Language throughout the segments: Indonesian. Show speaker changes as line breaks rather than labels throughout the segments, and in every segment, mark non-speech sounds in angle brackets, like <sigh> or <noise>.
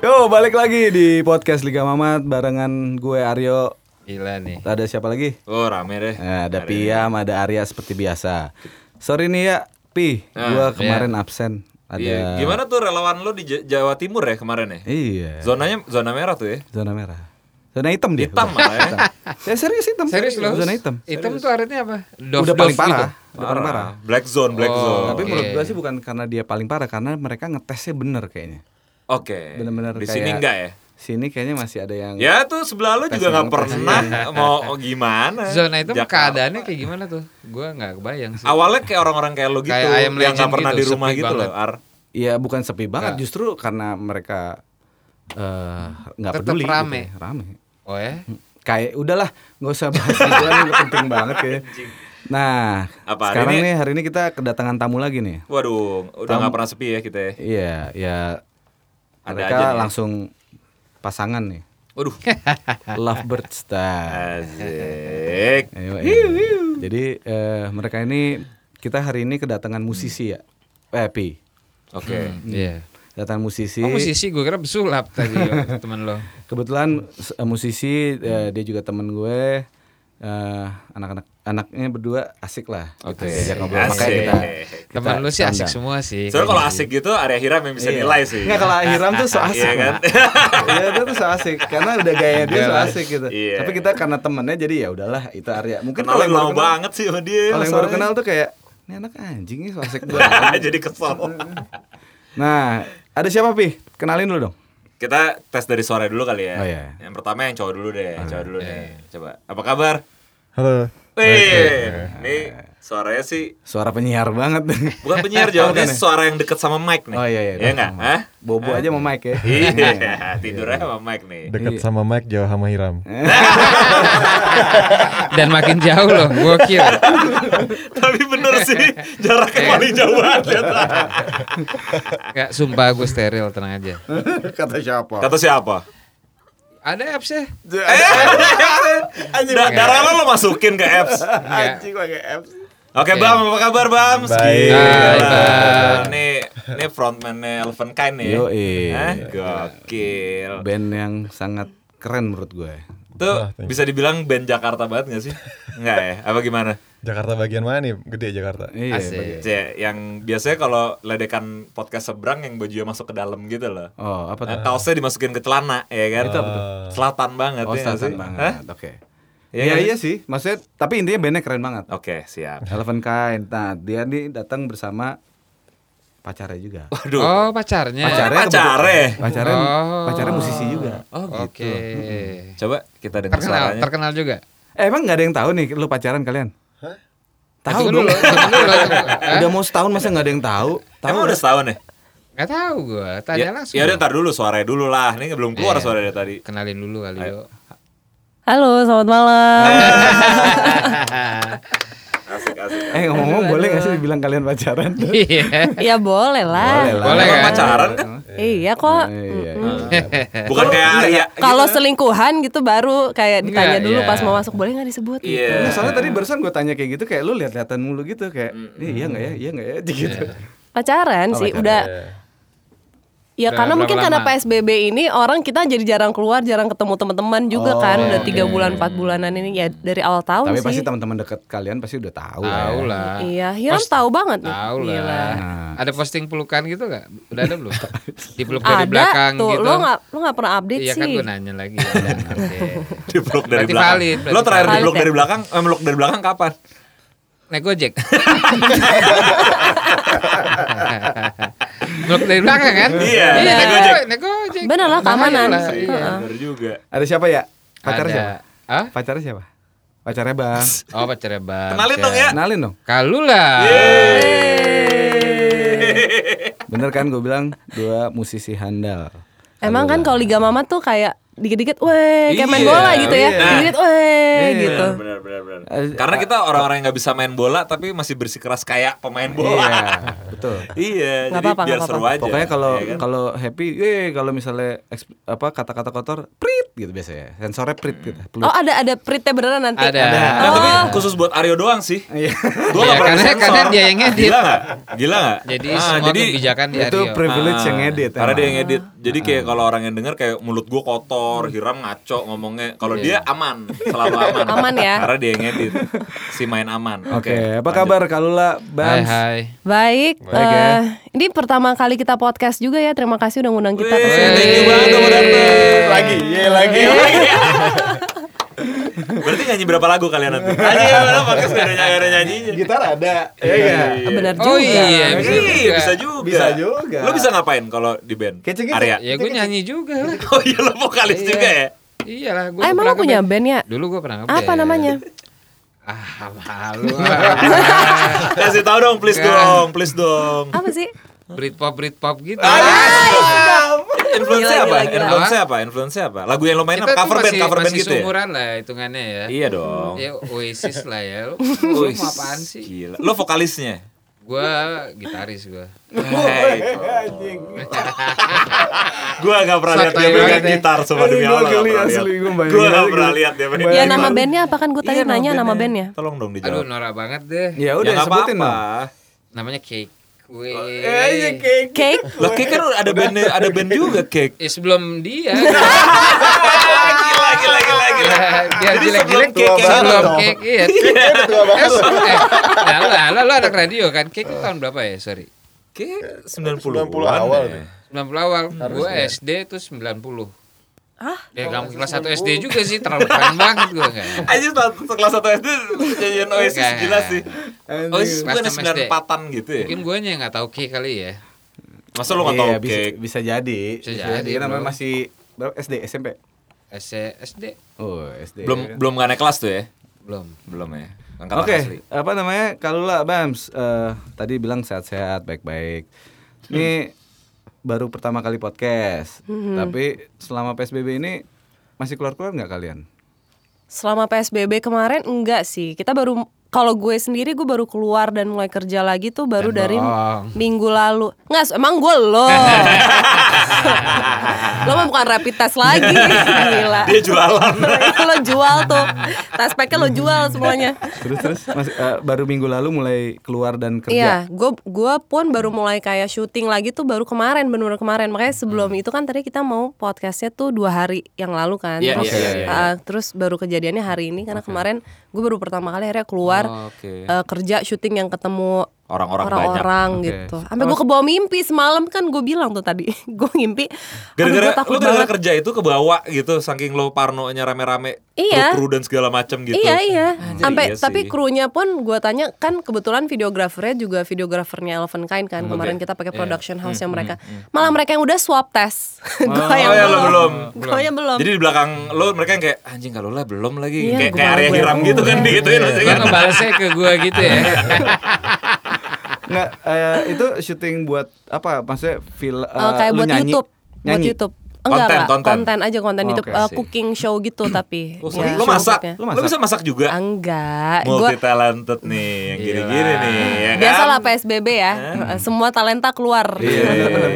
Yo, balik lagi di podcast Liga Mamat barengan gue Aryo.
Gila nih.
Ada siapa lagi?
Oh rame deh.
Nah, ada Piam, ada Arya seperti biasa. Sorry nih ya, Pi,
Ah,
gue kemarin absen. Ada
Iya. Gimana tuh relawan lu di J- Jawa Timur ya kemarin ya?
Nah. Iya,
Zonanya zona merah tuh ya.
zona merah. Zona hitam dia.
Hitam malah ya.
Saya serius hitam.
Serius loh?
Zona hitam.
Hitam tuh artinya apa?
Udah paling
gitu.
parah. Udah paling parah.
Parah. Black zone, Oh, black zone.
Oh, Tapi menurut gue sih bukan karena dia paling parah, karena mereka ngetesnya bener kayaknya.
Oke.
Bener-bener
Di
kayak- Iya.
sini enggak ya?
Sini kayaknya masih ada yang
Ya tuh sebelah lu juga nggak pernah <laughs> mau gimana.
Zona itu
Jakarta.
keadaannya kayak gimana tuh? Gua nggak kebayang sih.
Awalnya kayak orang-orang kayak lu gitu
Kayak ayam
yang nggak
legend
pernah
gitu,
di rumah
sepi
gitu
banget.
loh. Ar.
Iya bukan sepi banget
Ya.
justru karena mereka eh, nggak
Tetep
peduli. gitu
rame.
ya, rame.
Oh ya?
Kayak udahlah nggak usah bahas itu lagi nggak penting banget ya. Nah
Apa, hari
sekarang
ini-
nih hari ini kita kedatangan tamu lagi nih.
Waduh, udah nggak pernah sepi ya kita. ya.
Iya ya
Ada
mereka
aja nih.
langsung pasangan
<laughs>
nih.
Waduh.
Lovebird style.
Asik.
Ayo, ayo. Jadi eh, mereka ini kita hari ini kedatangan musisi ya. Eh Pi.
Oke.
Iya.
Kedatangan musisi.
Oh musisi gue kira pesulap
<laughs>
tadi lo, temen lo.
Kebetulan s- eh, musisi eh, dia juga temen gue eh, anak-anak anaknya berdua asik lah.
Oke.
Diajak ngobrol makanya kita.
Asik.
Temen
kita
lo sih asik
tanda.
semua
Iya,
sih.
Eh, Soalnya kalau asik gitu area Hiram yang bisa nilai sih.
Nggak, kalau Hiram tuh so asik
Iya kan?
Mak. <laughs> Iya dia tuh so asik karena udah gaya dia so asik gitu.
Iya.
Tapi kita karena temennya jadi ya udahlah itu Arya. Mungkin
Kenal
kalau yang baru
lama
kenal,
banget sih sama dia.
kalau yang baru kenal
masalahnya.
tuh kayak ini anak anjing nih so asik banget.
<laughs> Jadi kesel.
<laughs> nah ada siapa Pi? Kenalin dulu dong.
Kita tes dari sore dulu kali ya.
Oh, iya.
Yang pertama yang cowok dulu deh, cowok dulu nih. Coba. Apa kabar?
Halo.
Wih, ini suaranya sih
Suara penyiar banget. <laughs>
bukan penyiar jawabnya suara yang deket sama mic nih.
Oh iya iya.
Iya enggak? Hah?
Bobo aja sama Mike ya.
Iya, tidurnya sama mic nih.
Dekat sama Mike, jauh sama Hiram.
<laughs> Dan makin jauh loh, gokil.
Tapi bener sih, jaraknya paling jauh banget.
Gak sumpah gue steril tenang aja.
Kata siapa?
Kata siapa?
Ada apps ya?
Eh, Da- darah lo lo masukin ke apps.
Enggak.
oh,
Oke Bam, apa kabar Bam?
Baik.
Gila.
Hai, Bam.
Nih, nih frontman-nya Elven Kain nih.
Yoi.
Hah? Gokil.
band yang sangat keren menurut gue.
Tuh
Ah, thank you.
bisa dibilang band Jakarta banget gak sih? Enggak ya? Apa gimana?
Jakarta bagian mana nih? Gede ya Jakarta.
Iya, bagi-
Asik.
Cie, yang biasanya kalau ledekan podcast seberang yang bajunya masuk ke dalam gitu loh.
Oh, apa tuh?
Nah, Kaosnya dimasukin ke celana, ya kan? Itu Selatan banget
Oh,
ya nggak
selatan
sih?
banget.
Hah?
Oke.
Iya,
Iya,
kan?
iya sih. Maksudnya tapi intinya bandnya keren banget.
Oke, siap.
Eleven Kind. Nah, dia nih datang bersama pacarnya juga.
Waduh.
Oh pacarnya.
Pacarnya.
kebetulan- Pacarnya,
Oh.
pacarnya musisi juga.
Oh, gitu.
Oke.
Coba kita dengar
Terkenal,
suaranya.
terkenal juga.
Eh, emang nggak ada yang tahu nih lu pacaran kalian? Tahu dong.
Tunggu dulu, tunggu dulu, tunggu.
<laughs> Udah mau setahun masa nggak ada yang tahu? Tahu
Emang udah setahun ya?
Gak tau gue,
Ya,
tanya langsung.
ya udah tar dulu suaranya dulu lah. Ini belum keluar
Iya.
suaranya tadi.
Kenalin dulu kali yuk.
Halo, selamat malam.
Asik asik.
Eh, ngomong-ngomong boleh nggak sih dibilang kalian
<laughs>
pacaran?
<laughs> Iya.
ya boleh lah.
lah.
Boleh Iya.
Emang
kan?
pacaran kan?
Iya kok.
Iya.
Bukan kayak Arya.
Kalau selingkuhan gitu baru kayak
Enggak,
ditanya dulu
iya.
pas mau masuk boleh nggak disebut gitu.
Iya.
Nah, soalnya tadi barusan gue tanya kayak gitu kayak lu lihat-lihatan mulu gitu kayak "Ih, iya nggak ya iya nggak ya <laughs> gitu
Pacaran sih udah ya
Udah
karena
berapa
mungkin karena
lama?
PSBB ini orang kita jadi jarang keluar, jarang ketemu teman-teman juga
Oh,
kan udah tiga bulan empat bulanan ini ya dari awal tahun
iya, tapi pasti
sih.
teman-teman dekat kalian pasti udah <laughs> tahu lah
Tahu
ya.
lah.
Iya, Hiram tahu banget nih.
Tahu
Gila.
lah. Ada posting pelukan gitu gak? Udah ada belum? Dipeluk dari
Ada
belakang
tuh,
gitu.
lo nggak lo nggak pernah update
Iya
sih.
kan gue nanya
<laughs>
lagi. Ada. Oke.
<laughs> Di blok dari
Berarti
belakang.
valid, ya. berarti
Lo terakhir di
valid.
blok
Valid
dari belakang, eh, meluk dari belakang kapan?
Naik
<laughs>
Gojek. Peluk dari belakang kan?
Iya, naik
Naik
Gojek.
Gojek. Naik Gojek.
Bener lah,
Bahaya
keamanan.
lah.
Iya, bener juga.
ada siapa ya pacarnya
Ada.
siapa
Hah?
pacarnya siapa pacarnya
<laughs>
bang
Oh pacarnya bang.
Kenalin dong ya.
kenalin dong
Kalu lah.
bener kan gue bilang dua musisi handal
Emang kan kalau Liga Mama tuh kayak dikit-dikit, weh, kayak main bola gitu ya,
iya.
dikit-dikit, weh,
Iya,
gitu.
Bener benar, benar.
Eh,
Karena kita orang-orang yang nggak bisa main bola tapi masih bersikeras kayak pemain
Iya,
bola. <laughs>
betul.
Iya,
Nggak
jadi
apa-apa,
biar
nggak
seru
apa-apa.
aja.
Pokoknya kalau
Iya kan?
kalau happy, eh kalau misalnya eks- apa kata-kata kotor, prit gitu biasanya. Sensornya prit gitu. pelit.
Oh ada ada pretnya beneran nanti. Oh.
Ada.
Nah, tapi khusus buat Aryo doang sih.
<laughs> Iya.
Gua nggak
Iya,
pernah
karena-
sensor.
karena dia yang ngedit.
Gila nggak? Gila nggak?
Jadi
Ah,
semua kebijakan di
itu
Aryo.
privilege
Ah,
yang edit.
Karena dia
emang.
yang edit. Jadi
Ah.
kayak kalau orang yang denger kayak mulut gua kotor, Hiram ngaco ngomongnya. Kalau dia aman, selalu aman.
Aman ya.
Karena dia yang edit. Si main aman.
Oke, apa kabar Kalula,
Hai
Bams?
hai.
Baik.
Baik ya.
eh, ini pertama kali kita podcast juga ya. Terima kasih udah ngundang kita.
Wih,
ke sini.
thank you banget kamu datang.
Lagi, iya lagi.
Berarti nyanyi berapa lagu kalian nanti? Aja ya, mana podcast gak ada nyanyi ada nyanyinya.
Gitar ada. Iya iya.
Benar Eh, juga.
Oh iya, bisa
Iya,
juga.
bisa juga.
Bisa juga.
Lo bisa ngapain kalau di band?
Kece-kece.
Area.
Ya gue nyanyi juga lah.
Oh iya lo vokalis juga ya.
Iya lah.
Ah, emang lo punya band ya?
Dulu gue pernah ngeband.
Apa namanya?
Ah malu. ah.
Kasih tau dong, please
Enggak.
dong, please dong.
Apa sih?
Britpop Britpop gitu.
Ah, iya. Influence apa?
Gila, gila, gila.
Influence apa? Influence apa? Lagu yang lo main apa?
tuh
Cover band,
masih-
cover band
masih
gitu ya.
seumuran lah hitungannya ya.
Iya dong.
Ya Oasis lah ya.
<laughs>
Lu, lu
Wih,
mau apaan sih?
Gila. Lo vokalisnya.
Gue gitaris gue.
<laughs>
<laughs> Gue gak pernah lihat dia
Sotoy
pegang
banget ya.
gitar sama
Aduh,
demi
gua
Allah. gak
geli
pernah
asli,
lihat.
gua bayangin
Gua gak
aja
pernah
gua.
lihat dia pegang
Bayangin
Ya
Band.
nama
gitar.
bandnya apa kan gue tadi
Iya,
nanya nama bandnya.
Tolong dong
Aduh
dijawab.
norak banget deh.
Ya udah
nggak
sebutin dong.
Namanya Cake. Wih.
Cake.
Lah Oh, iya, Cake kan ada band ada band juga
<laughs>
Cake.
Eh, sebelum
<laughs>
dia.
Gila gila gila gila.
Biar
Jadi
jelek-jelek ya.
sebelum Cake yang
sebelum
dong.
Cake. Iya. Eh, Nah, lu, nah, lu anak radio kan? Cake itu tahun berapa ya? Sorry.
Cake 90-an.
90 awal
ya.
nih.
90 awal.
Hmm.
Gue SD itu 90.
Hah?
Ya kamu
Oh,
kelas 1 SD juga sih terlalu keren banget kan. gue
<laughs>
enggak.
Anjir pas- kelas 1 SD nyanyiin Oasis
Enggak.
gila sih. Oasis
Pas
bukan
sama
94-an gitu ya.
Mungkin gue nya nggak tahu K kali ya.
Masa lu enggak tahu
Iya, bisa,
Cake?
bisa jadi.
Bisa jadi,
Kan namanya
bro.
masih berapa SD, SMP?
S- SD
Oh, SD.
Belum
Iya.
belum gak naik kelas tuh ya?
belum.
Belum ya. Angkatan
Oke,
asli.
apa namanya? Kalau lah Bams, eh, tadi bilang sehat-sehat, baik-baik. Ini baru pertama kali podcast,
Mm-hmm.
tapi selama PSBB ini masih keluar-keluar nggak kalian?
Selama PSBB kemarin enggak sih. Kita baru kalau gue sendiri gue baru keluar dan mulai kerja lagi tuh baru
Dan
dari
bohong.
minggu lalu. Enggak, emang gue lo.
<laughs>
lo mah bukan rapid test
<laughs>
lagi. Gila.
Dia jualan.
<laughs> Itu lo jual tuh. Tas packnya lo jual semuanya.
Terus-terus masih- eh, baru minggu lalu mulai keluar dan kerja.
Iya, gue gue pun baru
Hmm.
mulai kayak syuting lagi tuh baru kemarin benar-benar kemarin. Makanya sebelum itu kan tadi kita mau podcastnya tuh dua hari yang lalu kan.
Iya,
terus,
iya, iya,
ah, terus baru kejadiannya hari ini karena kemarin gue baru pertama kali akhirnya keluar
Oh, Oke.
eh, kerja syuting yang ketemu
Orang-orang banyak.
orang-orang
Oke.
gitu. Sampai gue kebawa mimpi semalam kan gue bilang tuh tadi <laughs> gue ngimpi. aduh,
Gara-gara
gua takut
lu gara-gara
banget.
kerja itu kebawa gitu saking lo parnonya rame-rame
Iya.
kru dan segala macam gitu.
Iya iya.
Anjir,
Sampai
iya
tapi
sih.
krunya pun gue tanya kan kebetulan videografernya juga videografernya Eleven Kind kan kemarin kita pakai
Iya.
production house yang mereka. Malah mereka yang udah swab
<laughs>
test. gue yang
Oh, ya, lo belum.
Gue yang belum.
Jadi di belakang lo mereka yang kayak anjing kalau lah belum lagi kayak
Iya, gua Iya,
kayak
baru
area
baru
hiram gitu kan
baru.
digituin pasti
Gue
kan.
ngebalasnya ke gue gitu
<laughs>
ya.
Iya.
Nggak, eh, itu syuting buat apa? Maksudnya film
Eh, kayak buat YouTube, buat
Nyanyi.
YouTube. Enggak
Konten,
enggak,
konten.
aja konten
Oh,
YouTube
oke,
Eh,
sih.
cooking show gitu
<clears throat>
tapi.
Oh,
ya,
serius? lo
show
masak,
cooknya.
lo bisa masak juga.
Enggak, Iya. gue
Multi talented nih, yang gini-gini nih, ya kan? Eh. Iya,
biasalah PSBB ya. Semua talenta keluar,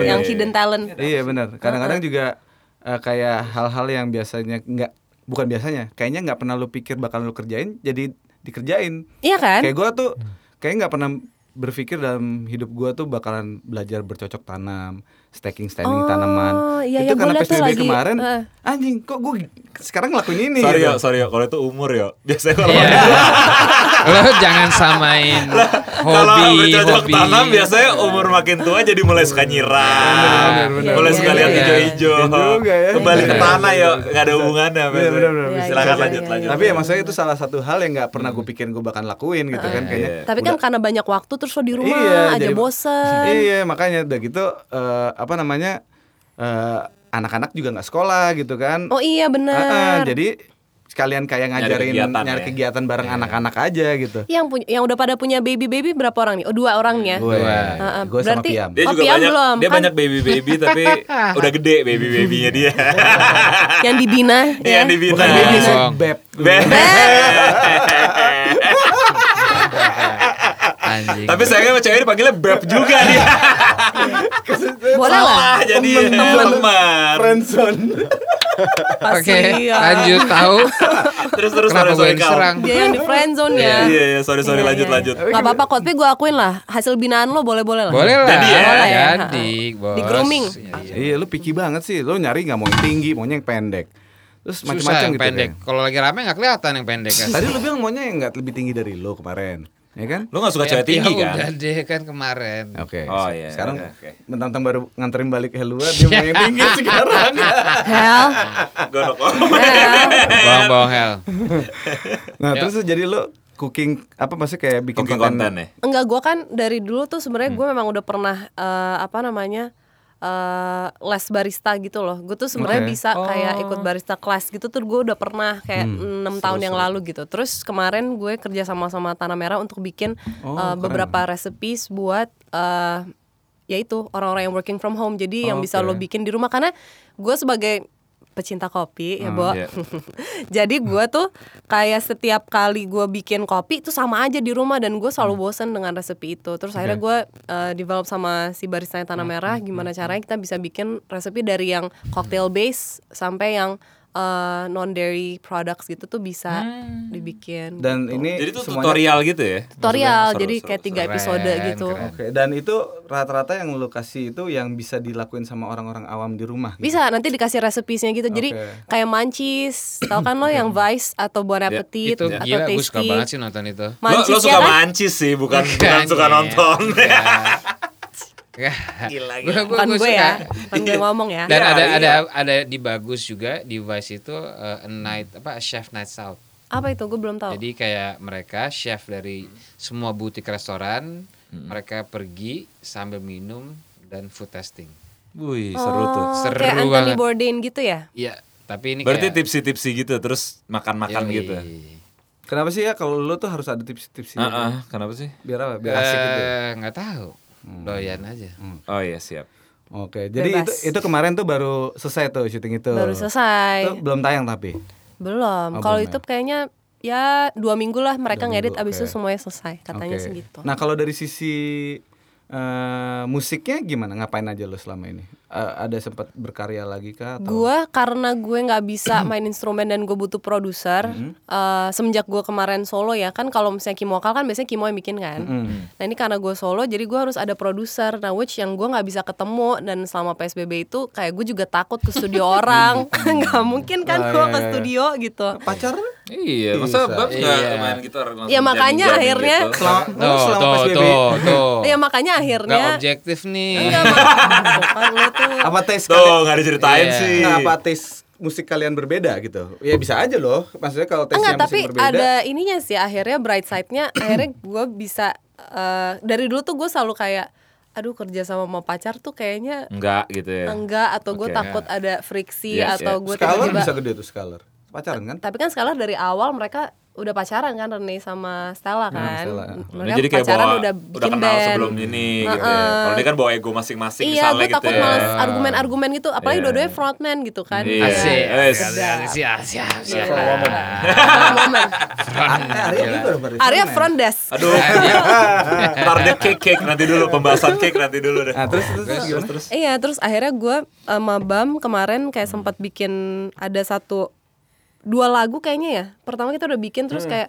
yang hidden talent.
Iya benar. Kadang-kadang juga eh, kayak hal-hal yang biasanya nggak bukan biasanya, kayaknya nggak pernah lu pikir bakal lu kerjain, jadi dikerjain.
Iya kan?
Kayak gua tuh
Hmm.
kayaknya nggak pernah berpikir dalam hidup gua tuh bakalan belajar bercocok tanam, staking standing
Oh,
tanaman.
iya,
itu
iya, gua
karena
liat tuh
PSBB
lagi,
kemarin.
eh.
Anjing, kok gua sekarang ngelakuin ini
Sorry
gitu.
yo, sorry yo, kalau itu umur yo. Biasanya kalau
Iya. Lo jangan samain
kalau
hobi
bercocok
hobi.
tanam biasanya umur makin tua jadi mulai suka nyiram,
benar.
mulai
Iya,
suka
iya,
lihat
iya.
hijau-hijau,
Iya juga ya.
kembali ke
Iya.
tanah yo, nggak ada hubungannya.
Benar, benar, benar.
Iya,
Silakan
iya,
lanjut lanjut.
iya,
Hmm.
iya.
Tapi ya maksudnya itu salah satu hal yang nggak pernah gue pikirin gue bakal lakuin gitu kan kayaknya.
ya,
Tapi kan karena banyak waktu terus lo di rumah
Iya,
aja
Iya, jadi-
bosen.
Iya, makanya udah gitu eh, apa namanya? eh, anak-anak juga nggak sekolah gitu kan.
Oh
Ah, ah,
iya benar.
jadi sekalian kayak ngajarin nyari
kegiatan
kegiatan,
ya.
bareng anak-anak aja gitu.
Yang punya yang udah pada punya baby baby berapa orang nih? Oh, dua orang nih ya.
Gue,
Ah, ah,
gue sama
berarti-
Piam.
Dia
Oh,
juga
Piam
banyak
belum,
dia
kan?
banyak baby baby tapi
<laughs>
udah gede baby babynya dia.
yang dibina
<laughs> Iya,
ya.
yang dibina.
Bukan baby sih,
Bohong.
beb.
Be-
Anjing.
<laughs> tapi sayangnya sama cewek dipanggilnya beb juga
<laughs>
dia.
ya? Boleh
Salah
lah.
<laughs> jadi
Oh, Temen.
teman.
Friendzone.
Oke,
Kasihan.
lanjut
<laughs>
tahu.
Terus terus
Kenapa gue
sorry sorry
yang
kal.
diserang?
iya. Dia yang di friendzone
Iya
ya.
iya iya, sorry sorry
Iya,
lanjut
iya.
lanjut.
Gak apa-apa kok, tapi gue akuin lah hasil binaan lo boleh-boleh lah.
Boleh lah.
Jadi ya.
Boleh ya,
Jadi, bos.
Di grooming.
Iya.
Iya, lu picky banget sih. Lu nyari nggak mau yang tinggi, maunya yang pendek. Terus
Susah
macam-macam
yang
gitu.
pendek.
kayaknya.
Kalau lagi rame nggak kelihatan yang pendek kan.
Tadi lu bilang maunya yang nggak lebih tinggi dari lu kemarin, ya kan?
Lu gak suka
Ya,
cewek tinggi
ya Udah <laughs>
kan?
deh kan
<laughs>
kemarin.
Oke.
Oh,
se-
iya,
Sekarang
iya, oke.
mentang-mentang baru nganterin balik Helua dia mau yang
<laughs>
tinggi sekarang.
Hell,
Gondok.
hell.
Bawang-bawang hell.
Nah,
Ya.
terus jadi lu cooking apa maksudnya kayak bikin
Cooking
konten,
konten ya.
Enggak, gue kan dari dulu tuh sebenarnya gue memang udah pernah eh, apa namanya eh, les barista gitu loh. Gue tuh sebenarnya
Oke.
bisa kayak ikut barista kelas gitu tuh gue udah pernah kayak enam tahun yang lalu gitu. Terus kemarin gue kerja sama sama Tanah Merah untuk bikin eh, beberapa recipes buat eh, yaitu orang-orang yang working from home. Jadi yang bisa lo bikin di rumah karena gue sebagai pecinta kopi ya, Bo.
iya.
<laughs> Jadi gue tuh kayak setiap kali gue bikin kopi itu sama aja di rumah dan gue selalu bosen dengan resepi itu. Terus akhirnya gue uh, develop sama si barista tanah merah gimana caranya kita bisa bikin resepi dari yang cocktail base sampai yang non dairy products gitu tuh bisa dibikin.
Dan ini
Jadi itu
semuanya-
tutorial gitu ya.
tutorial
Seru,
jadi
seru,
kayak tiga
seru.
episode
Keren,
gitu.
keren.
Oke, dan itu rata-rata yang lu kasih itu yang bisa dilakuin sama orang-orang awam di rumah. gitu?
Bisa nanti dikasih resepisnya gitu. Jadi
Oke.
kayak mancis, tau kan lo yang vice atau bon appetit
Itu
atau
gila gue
tasty.
suka banget sih nonton itu.
Lo,
Mancis
lo
ya
suka
kan?
mancis sih, bukan
Bukan, Ya.
bukan suka
iya.
<laughs>
<laughs>
nonton.
Gila,
gila.
Bukan gue
<laughs>
ya,
suka.
bukan gue ngomong ya.
Dan
Iya,
ada
iya.
ada ada di bagus juga di Vice itu eh, a night apa a chef night out.
Apa itu gue belum tahu.
Jadi kayak mereka chef dari
Hmm.
semua butik restoran, mereka pergi sambil minum dan food testing.
Wih, seru tuh.
Oh,
Seru
kayak Anthony
banget.
Bourdain gitu ya?
Iya, tapi ini
Berarti
kayak
tipsi-tipsi gitu terus
Yoi.
makan-makan
Eh,
gitu.
Kenapa sih ya kalau lu tuh harus ada tips-tips
Ah,
gitu?
ah, kenapa sih?
Biar apa? Biar asik gitu. ya?
Eh, nggak tahu.
Hmm.
Doyan aja.
Oh iya, siap.
Oke, jadi
Bebas.
itu, itu kemarin tuh baru selesai tuh syuting itu.
Baru selesai.
Itu belum tayang tapi. Oh,
Belum. Kalau
belum
YouTube kayaknya ya dua minggu lah mereka
Dua
ngedit
minggu,
abis itu
oke.
semuanya selesai katanya
Oke.
sih gitu.
Nah kalau dari sisi eh, musiknya gimana? Ngapain aja lo selama ini? Eh, ada sempat berkarya lagi kah? Atau?
Gua karena gue nggak
<clears throat>
bisa main instrumen dan gue butuh produser
Mhm.
eh, semenjak gue kemarin solo ya kan kalau misalnya kimokal kan biasanya kimo yang bikin kan
Mhm.
nah ini karena gue solo jadi gue harus ada produser nah which yang gue nggak bisa ketemu dan selama psbb itu kayak gue juga takut ke
<laughs>
studio orang <laughs> nggak mungkin kan
Ah,
gue
Mhm. iya,
ke
iya.
studio gitu
Pacar?
Iya, masa
Bisa.
Bab nggak
Iya.
main gitar langsung
Ya, makanya
jamming-jamming
akhirnya-
gitu?
Selama, lo
Tuh,
selama
tuh,
PSBB,
tuh, tuh.
ya Iya, makanya akhirnya
Nggak objektif nih.
Enggak,
<laughs>
Mak. Bukan, lu tuh
apa tes
Tuh,
kalian?
nggak diceritain
Iya.
sih.
Nah, apa tes musik kalian berbeda gitu? Ya bisa aja loh. Maksudnya kalau tesnya
Enggak,
musik
tapi
berbeda.
ada ininya sih akhirnya bright side-nya akhirnya gue bisa eh, dari dulu tuh gue selalu kayak aduh kerja sama mau pacar tuh kayaknya
Enggak gitu ya.
enggak atau gue
Oke.
takut ada friksi
Yes,
atau gue
Scholar
tiba-tiba
bisa gede tuh scholar. Pacaran
<laughs>
kan?
tapi kan sekarang dari awal mereka udah pacaran kan Rene sama Stella kan
Stella.
Nah,
mereka
jadi kayak
pacaran
bawa,
udah
udah,
bikin
kenal
band
sebelum ini gitu ya.
Heeh.
Kalau ini kan bawa ego masing-masing misalnya
iya gue
gitu
takut
ya.
males argumen-argumen gitu apalagi
Iya.
dua-duanya frontman gitu kan
Iya.
Asik.
Wes.
Sedap. Asik, asik, asik.
Iya.
Momen.
Ah, Arya ini baru ya? baru-
Arya front desk
Aduh,
<laughs>
ntar dia cake cake nanti dulu pembahasan cake nanti dulu deh.
Nah, terus terus, terus gimana? Terus
Iya, terus akhirnya gue sama Bam kemarin kayak sempat bikin ada satu dua lagu kayaknya ya. Pertama kita udah bikin terus
Hmm.
kayak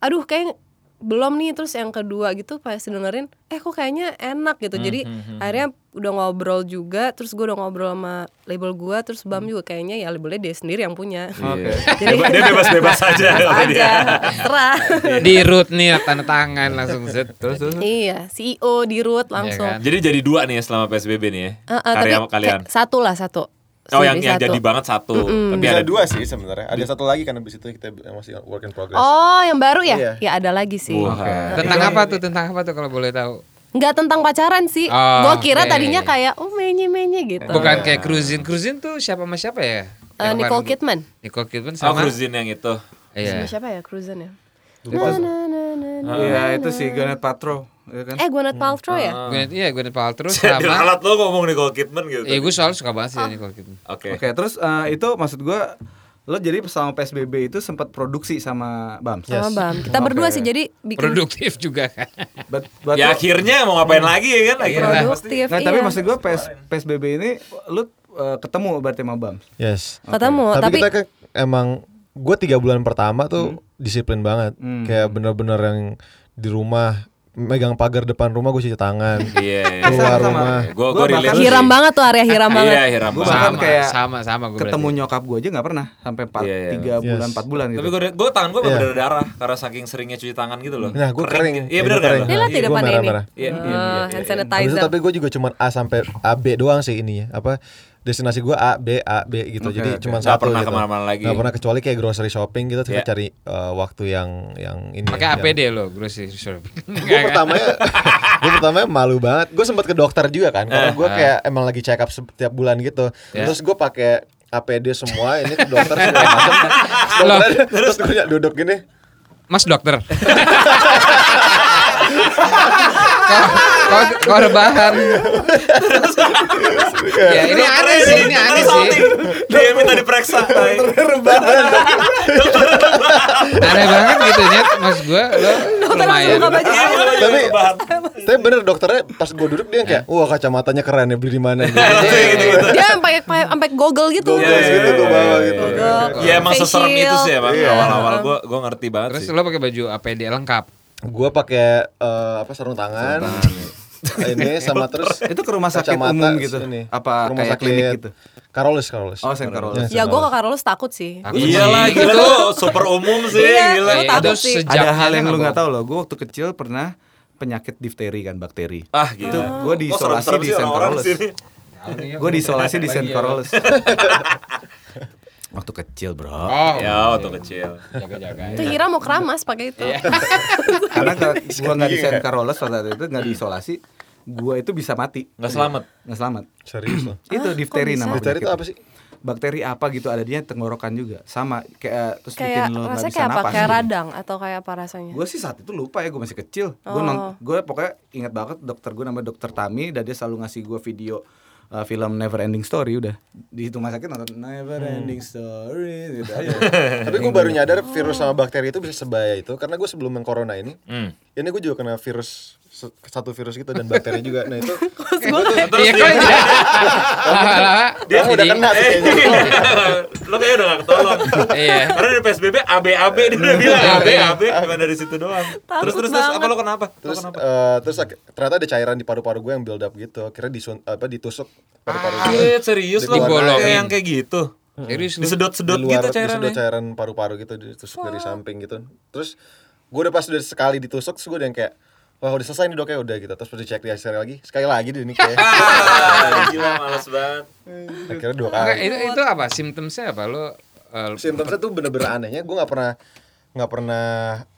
aduh kayak belum nih terus yang kedua gitu pas dengerin eh kok kayaknya enak
Hmm,
gitu. Jadi akhirnya udah ngobrol juga terus gue udah ngobrol sama label gue terus Bam
Hmm.
juga kayaknya ya labelnya dia sendiri yang punya.
Iya.
Oke.
Jadi kan-
Dia bebas-bebas aja kalau dia.
<laughs> aja
<laughs>
terserah.
Di root nih ya, tanda tangan langsung set.
terus terus.
iya, CEO di root
kan?
langsung.
Jadi jadi dua nih ya selama PSBB nih ya.
Eh, eh, tapi
Iya karya kalian.
kayak satu lah satu.
Oh yang
Sendiri
yang
satu.
jadi banget satu. Tapi
Bisa
ada
dua sih sebenarnya. Ada satu lagi kan abis itu kita masih work in progress.
Oh, yang baru ya?
Iya.
Ya ada lagi sih.
Wah.
Tentang apa tuh? Tentang apa tuh kalau boleh tahu?
Nggak tentang pacaran sih.
Ah,
Gua kira
oke.
tadinya kayak oh menye-menye gitu.
Bukan kayak cruising. Cruising tuh siapa sama siapa ya?
Eh,
Yang
Nicole
kemarin-
Kidman.
Nicole Kidman
Oh,
sama
Cruzin yang itu. <laughs>
Sama
Iya.
siapa ya? Cruzen ya?
Lupa.
Na, na, na, na,
Ah.
na.
Iya itu si Gwyneth Paltrow ya
iya
kan?
Eh, Gwyneth Paltrow ya?
Gwyneth, iya Gwyneth Paltrow
Jadi
sama
ralat lo ngomong Nicole Kidman gitu.
Ya gue selalu suka
Oh.
banget sih Nicole Kidman.
Oke.
Oke terus eh, itu maksud gua lo jadi selama PSBB itu sempat produksi sama Bams.
Ya.
Sama Bam. Kita berdua
Oke.
sih jadi bikin Iya,
Produktif juga kan.
But, but
Ya akhirnya mau ngapain lagi ya kan? Akhirnya.
produktif.
Nggak, Nah, tapi
iya.
maksud gua PS, PSBB ini lu eh, ketemu berarti sama Bams.
Yes. Tapi,
ketemu, Oh, tapi,
kita kan emang gue tiga bulan pertama tuh disiplin banget, kayak bener-bener yang di rumah megang pagar depan rumah gue cuci tangan,
Iya.
keluar
Sama-sama.
rumah.
Gue
Gua
gue relate
bahkan-
sih.
hiram banget tuh area hiram
<laughs>
banget.
Iya, hiram
Gua
banget.
bahkan
Sama,
kayak
sama sama gue
ketemu
berarti.
nyokap gue aja nggak pernah sampai empat
Iya, iya.
tiga bulan
Yes.
empat bulan gitu.
Tapi gue gue tangan gue
Iya.
berdarah darah karena saking seringnya cuci tangan gitu loh.
Nah gue kering,
Iya benar kan?
kering.
Dia lihat di
Gua
depan ini.
merah-merah.
Iya,
Ah,
iya, iya,
hand
iya.
Habis itu
sanitizer.
tapi gue juga cuman A sampai A B doang sih ini ya. Apa destinasi gue A B A B gitu.
Oke,
Jadi
oke.
cuman
Nggak
satu
pernah
gitu.
kemana-mana lagi.
Nggak pernah kecuali kayak grocery shopping gitu kita
Iya.
cari eh, waktu yang yang ini.
Pakai
iya.
yang- <laughs>
APD lo, grocery shopping.
<laughs>
gue pertamanya gue pertamanya malu banget gue sempat ke dokter juga kan
Eh,
karena gue kayak emang lagi check up setiap bulan gitu
Iya.
terus gue pakai APD semua ini ke
<laughs>
dokter segala macam Dokternya- terus gue duduk gini
Mas dokter. Kau- kau- Kau rebahan. ya ini aneh sih, ini aneh sih.
Dia minta diperiksa.
Aneh banget gitu ya. Mas gue lo lumayan.
<laughs> Iya, gua juga
Tapi-
rebahan.
tapi bener dokternya pas gue duduk dia kayak wah kacamatanya keren ya beli di mana gitu
<laughs> Iya, gitu-gitu.
Dia sampai sampai goggle gitu.
Goggle
Iya,
gitu gue bawa gitu
Goggle.
Iya emang
Face
seserem itu
shield.
sih emang awal-awal gue gue ngerti banget
Terus
sih.
lo pakai baju APD lengkap.
gue pakai eh, apa sarung tangan <laughs> ini sama terus
iya. <laughs> Itu ke rumah sakit
kacamata
umum gitu? Apa
Ke rumah
kayak klinik gitu?
Carolus Carolus
Oh, Saint Carolus.
Iya,
Ya
Saint
gue ke Carlos takut sih.
Takut
Iya lah
sih.
gila lo super umum sih
Iya,
gila.
Eh,
lo takut sih.
Ada hal yang lu nggak tahu loh. Gue waktu kecil pernah penyakit difteri kan bakteri.
Ah
Itu
gila.
gue diisolasi di Saint Carolus. Gue
Iya,
Gue
diisolasi di Saint
ya.
Carolus. waktu kecil bro.
Oh,
Ya waktu kecil.
jaga-jaga.
Itu Hira mau keramas pakai itu. <laughs>
Karena gue nggak di
Iya.
Saint Carolus waktu itu nggak diisolasi, gue itu bisa mati.
Nggak selamat.
Nggak selamat.
Serius
<clears throat>
loh
Itu
Ah,
difteri
kok bisa?
nama
Difteri itu
penyakitnya. <laughs>
apa sih?
bakteri apa gitu ada dia tenggorokan juga sama kayak terus bikin
Kayak
lo nggak
rasanya
bisa napas
kayak apa?
gitu. Iya.
Kayak radang atau kayak apa rasanya?
gue sih saat itu lupa ya gue masih kecil gue
Iya. Oh.
gue pokoknya ingat banget dokter gue namanya dokter Tami dan dia selalu ngasih gue video uh, film Never Ending Story udah di rumah sakit nonton Never Ending Story
<laughs>
gitu aja
Tapi gue baru nyadar virus sama bakteri itu bisa sebahaya itu karena gue sebelum yang corona ini,
Hmm.
ini gue juga kena virus se- satu virus gitu dan bakteri juga. Nah
<laughs>
itu
Iya kok <laughs> iya. Lama-lama
dia udah
jadi-
kena sih kayaknya.
<laughs>
Lo kayaknya udah gak ketolong.
Iya.
Karena dari PSBB ABAB dia udah bilang ABAB cuma dari situ doang. Terus terus terus apa lo kenapa? Lo
Terus
kenapa?
eh, terus ak- ternyata ada cairan di paru-paru gue yang build up gitu. Akhirnya disun apa ditusuk paru-paru gue.
Eh, serius lo
Dibolongin.
kayak yang kayak gitu.
Serius lu?
Di
Disedot-sedot
luar
gitu
disedot
cairannya.
cairan paru-paru gitu ditusuk dari samping gitu. Terus gue udah pas udah sekali ditusuk terus gue udah yang kayak Wah udah selesai nih dok ya udah gitu Terus pas dicek di hasil lagi Sekali lagi di ini kayak
Ah, Gila males banget.
Akhirnya dua
Enggak,
kali
itu itu apa? Simptomnya apa lo? eh,
Simptomnya tuh bener-bener anehnya gue nggak pernah nggak pernah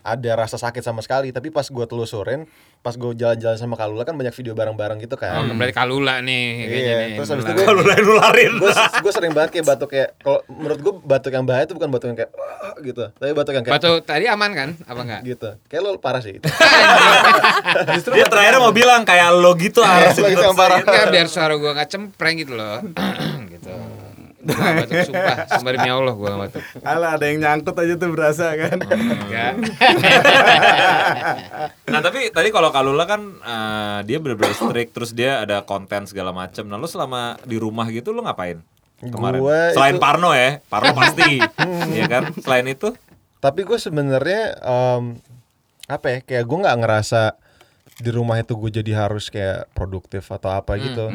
ada rasa sakit sama sekali tapi pas gue telusurin pas gue jalan-jalan sama Kalula kan banyak video bareng-bareng gitu
Oh,
kan
berarti kalula nih kayaknya
Iya,
nih.
terus habis itu
Nular.
gua-
Kalau lain nularin.
gue gue sering banget kayak batuk kayak kalau menurut gue batuk yang bahaya itu bukan batuk yang kayak "Wah," gitu tapi batuk yang kayak
Batu tadi aman kan? Apa enggak?
gitu kayak lo parah sih itu
Dia terakhir mau bilang kayak lo gitu harus
Lo gitu yang
Iya.
parah.
Enggak biar suara gua enggak cempreng gitu loh. <clears throat> gitu. Gua nggak batuk sumpah, sumpah demi Allah gua nggak batuk.
Alah ada yang nyangkut aja tuh berasa kan
Enggak.
Nah tapi tadi kalau Kalula kan eh, dia bener-bener strict terus dia ada konten segala macem. Nah lu selama di rumah gitu lu ngapain? Kemarin.
Gua
Selain
itu-
Parno ya, Parno pasti,
<laughs>
Iya kan? Selain itu,
tapi gue sebenarnya em, apa ya kayak gue nggak ngerasa di rumah itu gue jadi harus kayak produktif atau apa
Hmm,
gitu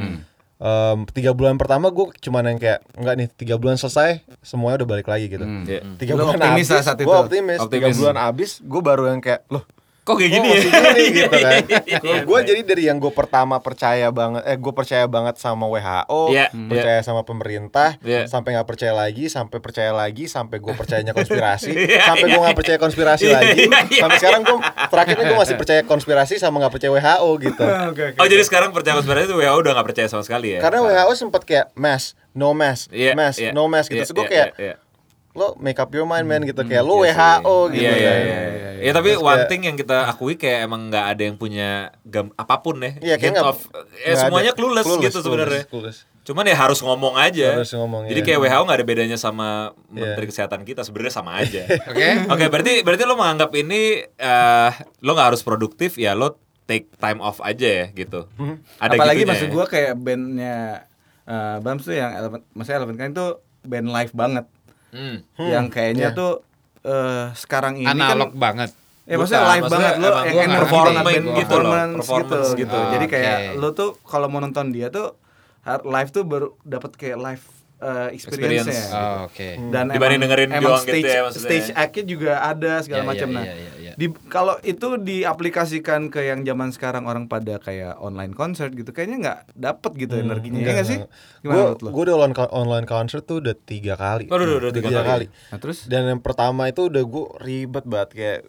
Em, tiga bulan pertama gue cuman yang kayak nggak nih tiga bulan selesai semuanya udah balik lagi gitu
Iya.
tiga
Hmm, Lu
bulan
optimis lah
abis,
saat
gua
itu.
optimis. tiga
Optimis.
bulan abis gue baru yang kayak loh
kok kayak gini
Oh,
ya?
maksudnya
<laughs>
nih, gitu
Iya,
kan.
iya, iya, iya.
gue jadi dari yang gue pertama percaya banget, eh gue percaya banget sama WHO,
Iya,
percaya sama pemerintah,
Iya.
sampai nggak percaya lagi, sampai percaya lagi, sampai gue percayanya konspirasi,
Iya.
sampai gue nggak percaya konspirasi lagi, sampai sekarang gue terakhirnya gue masih percaya konspirasi sama nggak percaya WHO gitu.
Oh jadi sekarang percaya konspirasi itu WHO udah gak percaya sama sekali ya?
Karena WHO sempat kayak mask, no mask,
Iya,
mask,
iya,
no mask gitu.
iya,
Terus gue
iya,
kayak
iya, iya.
lo make up your mind man
Hmm,
gitu kayak lo WHO gitu.
Iya iya
kan.
iya. Ya tapi
Terus
one
kayak-
thing yang kita akui kayak emang nggak ada yang punya gam apapun ya.
Iya kayak
Hint
nggak-
of- eh,
nggak ada.
semuanya clueless, gitu sebenarnya.
clueless.
Cuman ya harus ngomong aja.
Harus ngomong,
Jadi
iya.
kayak WHO nggak ada bedanya sama Menteri Kesehatan kita sebenarnya
<laughs>
sama aja.
Oke.
Oke, berarti berarti lo menganggap ini eh lo nggak harus produktif ya lo take time off aja ya gitu. Ada
Hmm. Apalagi
gitunya
maksud
ya.
gua kayak bandnya eh, Bams tuh yang Elephant, maksudnya Elephant Kind tuh band live banget,
Hmm.
yang kayaknya tuh eh, sekarang ini
Analog
kan
banget.
Ya maksudnya
Bukan,
live
maksudnya
banget lo
emang
yang
gua
energi
performing
banget,
gitu loh,
performance,
performance
gitu.
gitu.
Jadi
Ah,
kayak
oke.
lo tuh kalau mau nonton dia tuh har- live tuh baru dapat kayak live eh, experience-nya.
Experience.
Oh, Oke.
Dan
Dibanding dengerin
emang
doang gitu
stage,
ya maksudnya. Ya,
stage act-nya juga ada segala
Iya,
macam
iya,
nah.
iya, iya, iya.
di- kalau itu diaplikasikan ke yang zaman sekarang orang pada kayak online concert gitu kayaknya nggak dapet gitu
Hmm,
energinya. Iya nggak sih? Gimana
Gue
menurut lo?
gue udah online, online concert tuh udah tiga kali.
Waduh, udah- udah tiga kali.
Nah, terus?
Dan yang pertama itu udah gue ribet banget kayak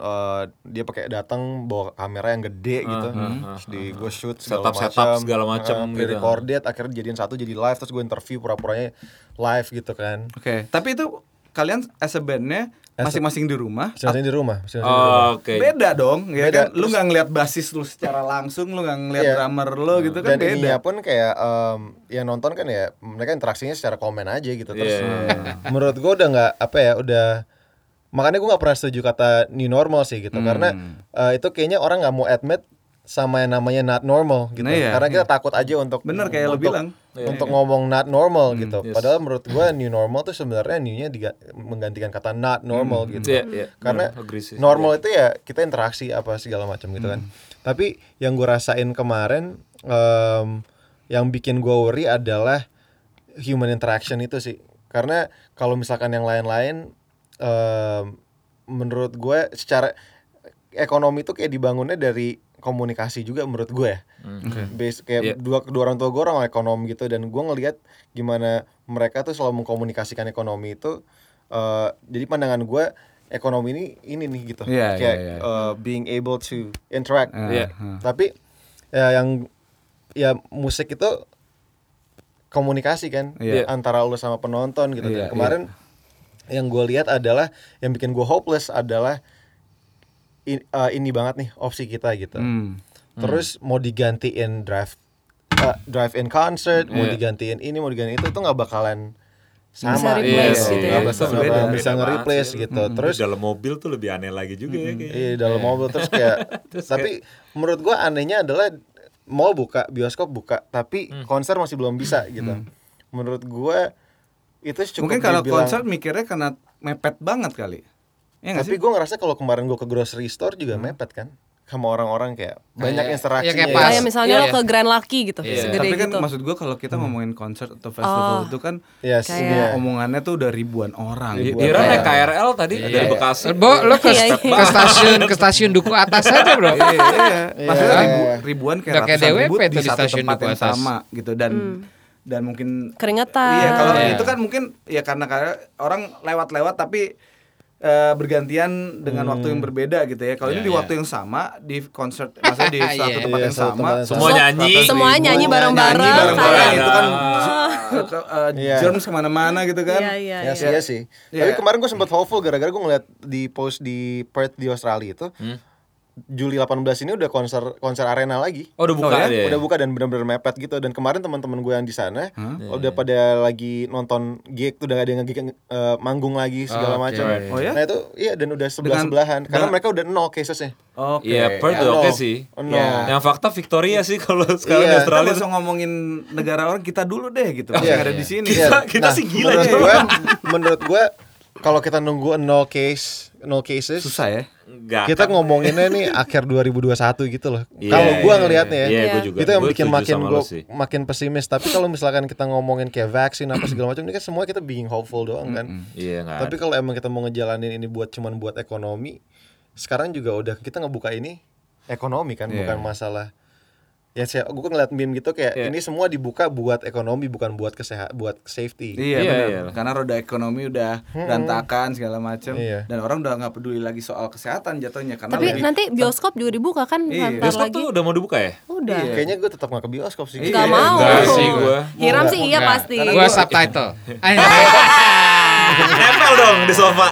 eh, dia pakai datang bawa kamera yang gede
Ah,
gitu, terus di gue shoot segala
Setup-setup
macam,
segala macam
eh,
gitu.
pre-recorded, akhirnya jadiin satu jadi live, terus gue interview pura-puranya live gitu kan.
Oke, tapi itu kalian as a bandnya masing-masing di rumah
Misalnya di rumah, misalnya di rumah.
Oh, Oke.
beda dong ya
Beda.
kan lu nggak ngeliat basis lu secara langsung lu nggak ngeliat
Iya.
drummer lo gitu kan
Dan ya,
beda
ininya pun kayak em, yang nonton kan ya mereka interaksinya secara komen aja gitu terus.
Iya.
Menurut gua udah nggak apa ya udah makanya gua nggak pernah setuju kata new normal sih gitu karena
Hmm.
eh, itu kayaknya orang nggak mau admit sama yang namanya not normal gitu
Nah, iya,
karena kita takut aja untuk
Bener, kayak lo
untuk-
bilang.
Iya,
untuk ngomong not normal
Hmm,
gitu padahal menurut gua new normal tuh sebenarnya newnya diga- menggantikan kata not normal gitu
Iya, iya.
karena
Bener, agree sih. Hmm.
normal itu ya kita interaksi apa segala macam gitu kan tapi yang gue rasain kemarin em, yang bikin gue worry adalah human interaction itu sih karena kalau misalkan yang lain-lain em, menurut gue secara ekonomi itu kayak dibangunnya dari komunikasi juga menurut gue ya
Hmm.
Base- kayak
Iya.
dua kedua orang tua gue orang ekonom gitu dan gue ngelihat gimana mereka tuh selalu mengkomunikasikan ekonomi itu eh, jadi pandangan gue ekonomi ini ini nih gitu
Iya, iya,
kayak
iya.
eh, being able to interact
Iya.
tapi ya yang ya musik itu komunikasi kan
Iya.
antara lu sama penonton gitu
Iya,
Dan kemarin yang gue lihat adalah yang bikin gue hopeless adalah in- eh, ini banget nih opsi kita gitu
Hmm.
terus mau digantiin drive drive in concert mau digantiin ini mau digantiin itu tuh nggak bakalan sama
Bisa replace
Iya, nggak
gitu ya.
bakal-
Beda,
nggak bakal
beda
bisa
banget
nge-replace
sih.
gitu terus
Terus dalam mobil tuh lebih aneh lagi juga ya kayaknya.
Iya dalam mobil terus kayak
Terus
tapi menurut gua anehnya adalah mall buka, bioskop buka, tapi
Hmm.
konser masih belum bisa gitu. Menurut gua itu cukup
mungkin kalau
dibilang-
konser mikirnya karena mepet banget kali ya nggak
tapi
sih
gua ngerasa kalau kemarin gua ke grocery store juga mepet kan sama orang-orang kayak banyak
Kayak-
interaksinya.
ya kayak
ya.
pas.
Kayak misalnya
Iya,
lo
iya.
ke Grand Lucky gitu,
Iya.
segede
tapi kan
gitu.
maksud gua kalau kita ngomongin konser atau festival itu kan
Yes,
Kayak-
Hmm. iya.
omongannya tuh udah ribuan orang
Ribuan.
Ira naik
Iya.
KRL tadi dari Bekasi.
Bo, lo ke,
Iya, iya.
ke stasiun ke stasiun duku atas aja bro.
Iya, iya. Maksudnya
Iya.
ribu- ribuan kayak
Udah kayak
ratusan
DWP
ribu
tuh
di
di
satu
stasiun
tempat
Duku
yang
Atas.
sama gitu dan dan mungkin
Keringetan.
Iya, kalau
Iya.
itu kan mungkin ya karena karena orang lewat-lewat tapi eh, bergantian dengan
Hmm.
waktu yang berbeda gitu ya. Kalau ini di waktu yang sama di konser maksudnya di satu
Iya.
tempat
<laughs> Iya,
yang
satu
sama
tempat yang
Semua
sama.
nyanyi.
Semua nyanyi bareng-bareng.
nyanyi bareng-bareng
Iya.
itu kan eh,
Ah. Iya.
germs kemana-mana gitu kan.
Iya, iya,
Ya
iya.
sih, ya sih.
Iya.
Tapi kemarin gue sempat hopeful gara-gara gue ngeliat di post di Perth di Australia itu Juli 18 ini udah konser konser arena lagi. Iya,
Oh, udah buka
Oh, ya?
deh.
udah buka dan benar-benar mepet gitu dan kemarin teman-teman gue yang di sana udah pada lagi nonton gig tuh udah ada yang gig eh, manggung lagi segala
Oke.
macam
Oh, ya?
nah itu iya dan udah sebelah sebelahan karena mereka udah nol casesnya
Oke. Iya.
Iya, Perth
Ya,
udah oke
no.
sih.
No.
Yang fakta Victoria sih kalau sekarang di
Iya.
Kita
Australia.
nggak usah ngomongin negara orang kita dulu deh gitu. Masih
Iya.
nggak ada di sini.
Iya.
kita sih gila ya.
menurut
aja.
gue menurut gue kalau kita nunggu nol case nol
<laughs>
cases
Susah ya.
Enggak.
kita ngomonginnya nih akhir 2021 gitu loh
Iya,
kalau gue
iya,
ngelihatnya ya
iya. Iya, gua juga.
itu yang
Gua
bikin
setuju
makin
sama
gua
lo sih.
makin pesimis tapi kalau misalkan kita ngomongin kayak vaksin apa segala macam ini kan semua kita being hopeful doang kan
Iya, enggak.
Tapi kalau emang kita mau ngejalanin ini buat cuman buat ekonomi, sekarang juga udah kita ngebuka ini ekonomi kan
Iya.
bukan masalah ya saya gue kan ngeliat meme gitu kayak
Iya.
ini semua dibuka buat ekonomi bukan buat kesehat buat
Iya,
safety
Iya,
benar.
iyalah.
karena roda ekonomi udah berantakan segala macam
Hmm. Iya.
dan orang udah nggak peduli lagi soal kesehatan jatuhnya karena
Tapi
lebih-
nanti bioskop juga dibuka kan
Iya.
ntar
Bioskop
lagi.
tuh udah mau dibuka ya? <laughs>
Udah.
Iya.
kayaknya gue tetap nggak ke bioskop sih
Iya.
Gak
Iya,
mau.
enggak sih gua.
Hiram sih iya
Enggak.
pasti.
Gua
<laughs>
subtitle.
Nempel dong di sofa.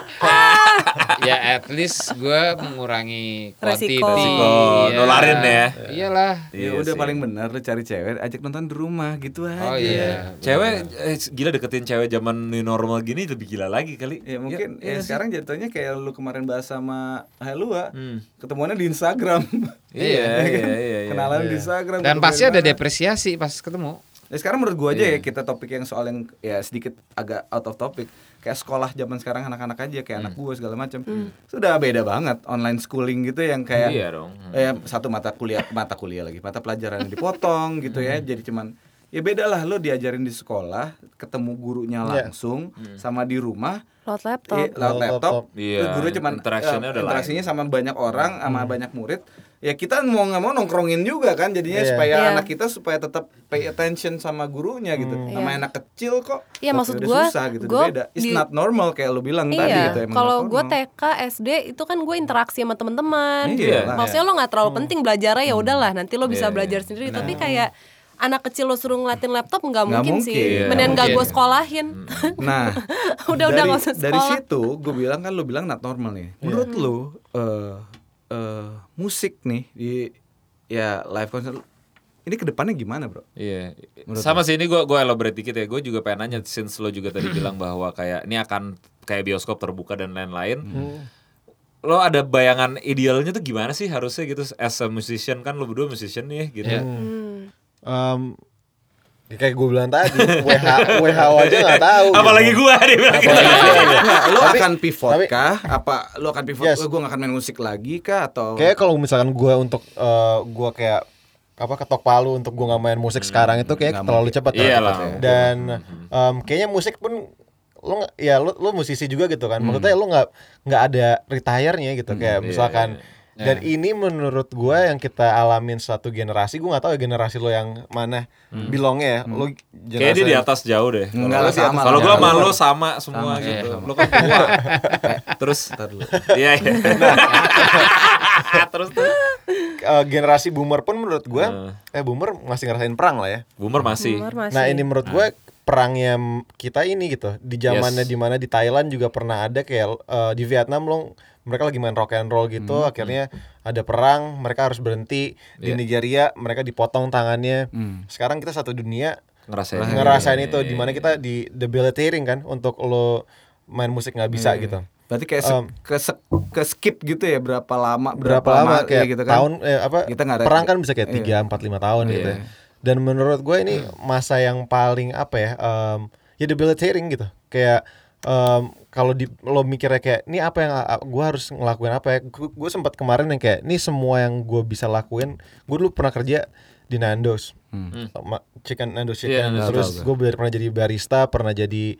ya at least gue mengurangi quantity.
Resiko. Resiko,
Oh,
Iya.
nolarin ya.
Iyalah.
ya
Iya
udah
sih.
paling benar lu cari cewek ajak nonton di rumah gitu aja
Oh iya.
Cewek eh, gila deketin cewek zaman new normal gini lebih gila lagi kali.
Ya mungkin ya,
iya sih.
sekarang jatuhnya kayak lu kemarin bahas sama Helua,
Hmm.
ketemuannya di Instagram. <laughs>
Iya,
Ya kan?
iya, iya, <laughs> iya.
Kenalan di Instagram. gitu,
Dan
ketemu
pasti
di
ada
mana.
depresiasi pas ketemu.
Ya, sekarang menurut gua aja
Iya.
ya kita topik yang soal yang ya sedikit agak out of topic. Kayak sekolah zaman sekarang anak-anak aja kayak
Hmm.
anak gua segala macam. Sudah beda banget online schooling gitu yang kayak
Iya dong.
eh, satu mata kuliah mata kuliah lagi, mata pelajaran yang
<laughs>
dipotong gitu
Hmm.
ya. Jadi cuman ya beda lah lo diajarin di sekolah, ketemu gurunya langsung
Hmm.
sama di rumah
Lewat laptop.
Iya, lewat
Lewat
laptop.
laptop.
Iya,
Terus Guru cuman
interaksinya
eh,
udah lain. Hmm.
interaksinya sama banyak orang, sama banyak murid. Ya kita mau nggak mau nongkrongin juga kan, jadinya
Iya.
supaya
Iya.
anak kita supaya tetap pay attention sama gurunya gitu.
Hmm.
Sama
Iya.
anak kecil kok.
Iya,
waktu
maksud
udah
gua-
susah gitu,
gua
beda. It's
di-
not normal kayak lu bilang tadi
Iya,
ya,
gitu. emang
kalau
not
gue
normal.
TK, SD itu kan gue interaksi sama teman-teman.
Iya.
Maksudnya lo nggak
Hmm.
terlalu penting belajarnya ya udahlah, nanti lo
Iya,
bisa belajar sendiri. Tapi kayak anak kecil lo suruh ngelatin laptop nggak
Nggak
mungkin,
mungkin.
sih. Mendingan
Nggak
gak gue
mungkin.
sekolahin.
Hmm.
Nah,
<laughs> Udah, udah,
dari,
nggak usah
dari
sekolah.
situ gue bilang kan lu bilang not normal nih.
Iya.
Menurut lu eh, eh, musik nih di ya live concert ini kedepannya gimana bro?
Iya. Sama sih ini gua gua elaborate dikit ya. Gue juga pengen nanya since lo juga tadi bilang bahwa kayak ini akan kayak bioskop terbuka dan lain-lain. Lo ada bayangan idealnya tuh gimana sih harusnya gitu as a musician kan lo berdua musician nih gitu.
Iya.
Em, ya kayak gue bilang tadi WH WHO aja nggak tahu gitu.
<laughs> Apalagi gua dia bilang gitu. <laughs>
Nggak, Nah, lu
Tapi-
akan pivot
tapi-
kah? Apa lu akan pivot?
Yes.
Gue gak akan main musik lagi kah? Atau
Kayaknya kalau misalkan gue untuk eh, gua kayak apa ketok palu untuk gua nggak main
Hmm,
musik sekarang itu kayak
nggak
terlalu cepat
Iya lah.
dan
Hmm.
em, kayaknya musik pun lo nggak- ya lo lo musisi juga gitu
Hmm.
kan maksudnya lo nggak nggak ada retire-nya gitu
iya,
kayak misalkan dan
Nah.
ini menurut gua yang kita alamin satu generasi gua nggak tahu ya generasi lo yang mana bilongnya ya lo
Hmm. Kayaknya dia
generasi
di atas jauh deh. Kalau
Enggak
lu
lah,
di atas-
sama lah,
Kalau gua
sama.
sama lo sama semua
Sama,
gitu.
sama.
Lo kan tua. <laughs> Terus
Ntar dulu.
iya iya. Terus tuh.
eh, generasi boomer pun menurut
Hmm.
gua eh boomer masih ngerasain perang lah ya
Boomer masih.
Umur masih.
Nah ini menurut gue perangnya m- kita ini gitu di zamannya
Yes.
dimana di Thailand juga pernah ada kayak eh, di Vietnam lo mereka lagi main rock and roll gitu akhirnya ada perang mereka harus berhenti di Nigeria mereka dipotong tangannya sekarang kita satu dunia
Ngerasain.
ngerasain itu dimana kita di debilitating kan untuk lo main musik nggak bisa gitu
Berarti kayak se- ke, se- ke skip gitu ya berapa lama
berapa, lama kayak
ya gitu kan?
tahun eh, apa
Kita nggak ada- iya.
perang kan bisa kayak tiga empat lima tahun gitu ya. dan menurut gue ini
Hmm.
masa yang paling apa ya em, ya debilitating gitu kayak em, kalau di lo mikirnya kayak ini apa yang a- gue harus ngelakuin apa ya gue sempat kemarin yang kayak ini semua yang gue bisa lakuin gue dulu pernah kerja di Nando's
Hmm.
Ma- chicken Nando's chicken
Iya, Nando's.
terus gue pernah jadi barista pernah jadi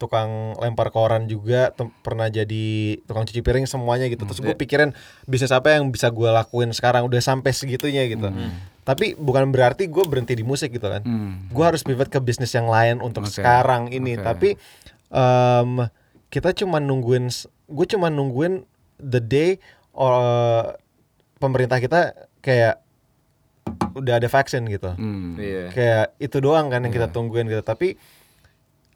tukang lempar koran juga tem- pernah jadi tukang cuci piring semuanya gitu terus gue pikirin bisnis apa yang bisa gue lakuin sekarang udah sampai segitunya gitu tapi bukan berarti gue berhenti di musik gitu kan gue harus pivot ke bisnis yang lain untuk sekarang ini tapi em, kita cuma nungguin gue cuma nungguin the day uh, pemerintah kita kayak udah ada vaksin gitu
Hmm. Iya.
Iya.
kayak itu doang kan yang kita tungguin gitu tapi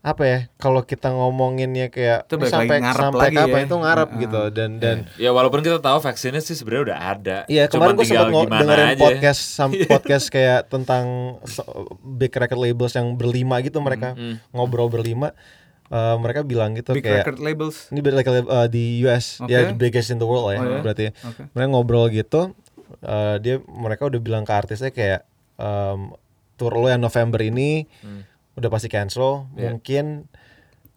apa ya kalau kita ngomonginnya kayak
Itu balik
ini
lagi
sampai
ngarep
sampai
lagi
kapan
ya. Iya.
itu ngarep
Heeh.
gitu dan dan
Ya walaupun kita tahu vaksinnya sih sebenarnya udah ada.
Iya
Cuman
kemarin gue
tinggal
sempat ngo-
gimana
dengerin
aja.
podcast
<laughs>
sam- podcast kayak tentang so- big record labels yang berlima gitu mereka ngobrol berlima Eh, mereka bilang gitu
Big
kayak
record labels.
ini big record label eh, di US
Oke.
ya the biggest in the world lah ya
Oh, ya?
berarti
Oke.
mereka ngobrol gitu eh, dia mereka udah bilang ke artisnya kayak em, tour lo yang November ini
Hmm.
udah pasti cancel
Iya.
mungkin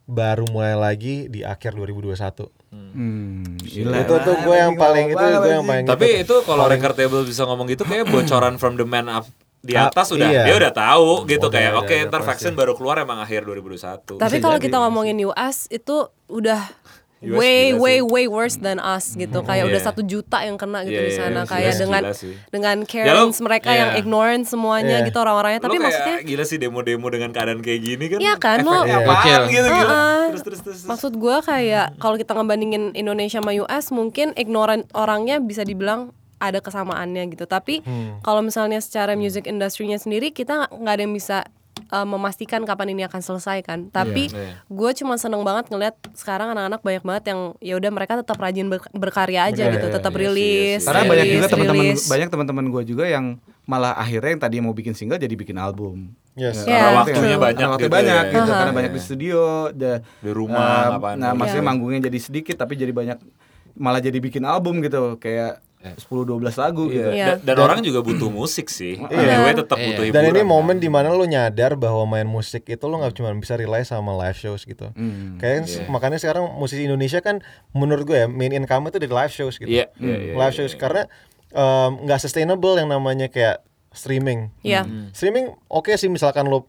baru mulai lagi di akhir 2021
Hmm.
itu tuh gue yang paling itu gue yang paling
Tapi
ngikut.
itu kalau record label bisa ngomong gitu kayak bocoran from the man up di
Ah,
atas udah
iya.
dia udah tahu gitu
Udah,
kayak
udah,
oke
udah
ntar
pasti.
vaksin baru keluar emang akhir 2021.
Tapi kalau kita ngomongin US itu udah
US
way
gila
way
sih.
way worse than us gitu kayak
Iya.
udah satu juta yang kena gitu
Iya,
di
iya,
sana
iya,
kayak
gila
dengan
sih.
dengan
Ya, lo-
Karens mereka yang
iya.
ignorant semuanya
Iya.
gitu orang-orangnya
Lo
tapi
kayak
maksudnya
gila sih demo-demo dengan keadaan kayak gini kan.
Iya kan,
efeknya
lo-
Iya.
apaan
Kecil.
gitu gila.
Heeh.
Terus terus terus. Hmm. terus.
Maksud gua kayak kalau kita ngebandingin Indonesia sama US mungkin ignoran orangnya bisa dibilang ada kesamaannya gitu. Tapi
Hmm.
kalau misalnya secara music industry-nya sendiri kita nggak- nggak ada yang bisa uh, memastikan kapan ini akan selesai kan. Tapi
Iya.
gue cuma seneng banget ngeliat sekarang anak-anak banyak banget yang ya udah mereka tetap rajin ber- berkarya aja gitu,
Iya
tetap
sih, iya
rilis.
sih.
Karena
rilis,
banyak juga teman-teman
rilis.
banyak teman-teman gue juga yang malah akhirnya yang tadinya mau bikin single jadi bikin album.
Yes.
Iya.
Karena
waktunya
karena
banyak
waktunya
gitu
banyak
ya.
gitu,
Aha.
karena banyak di studio, the,
Di rumah,
eh,
ngapain
nah
gitu.
maksudnya
Iya.
manggungnya jadi sedikit tapi jadi banyak malah jadi bikin album gitu kayak
Iya.
10-12 lagu gitu.
Iya.
Dan, dan orang juga butuh musik sih.
Iya.
Anyway tetap butuh hiburan.
Dan ini
kan.
momen dimana lo nyadar bahwa main musik itu lo nggak cuma bisa rely sama live shows gitu.
Hmm,
Kayak
iya.
makanya sekarang musisi Indonesia kan menurut gue ya main income itu dari live shows gitu.
Iya, iya, iya,
live shows karena em, nggak sustainable yang namanya kayak streaming.
Iya.
Hmm.
Streaming oke sih misalkan lo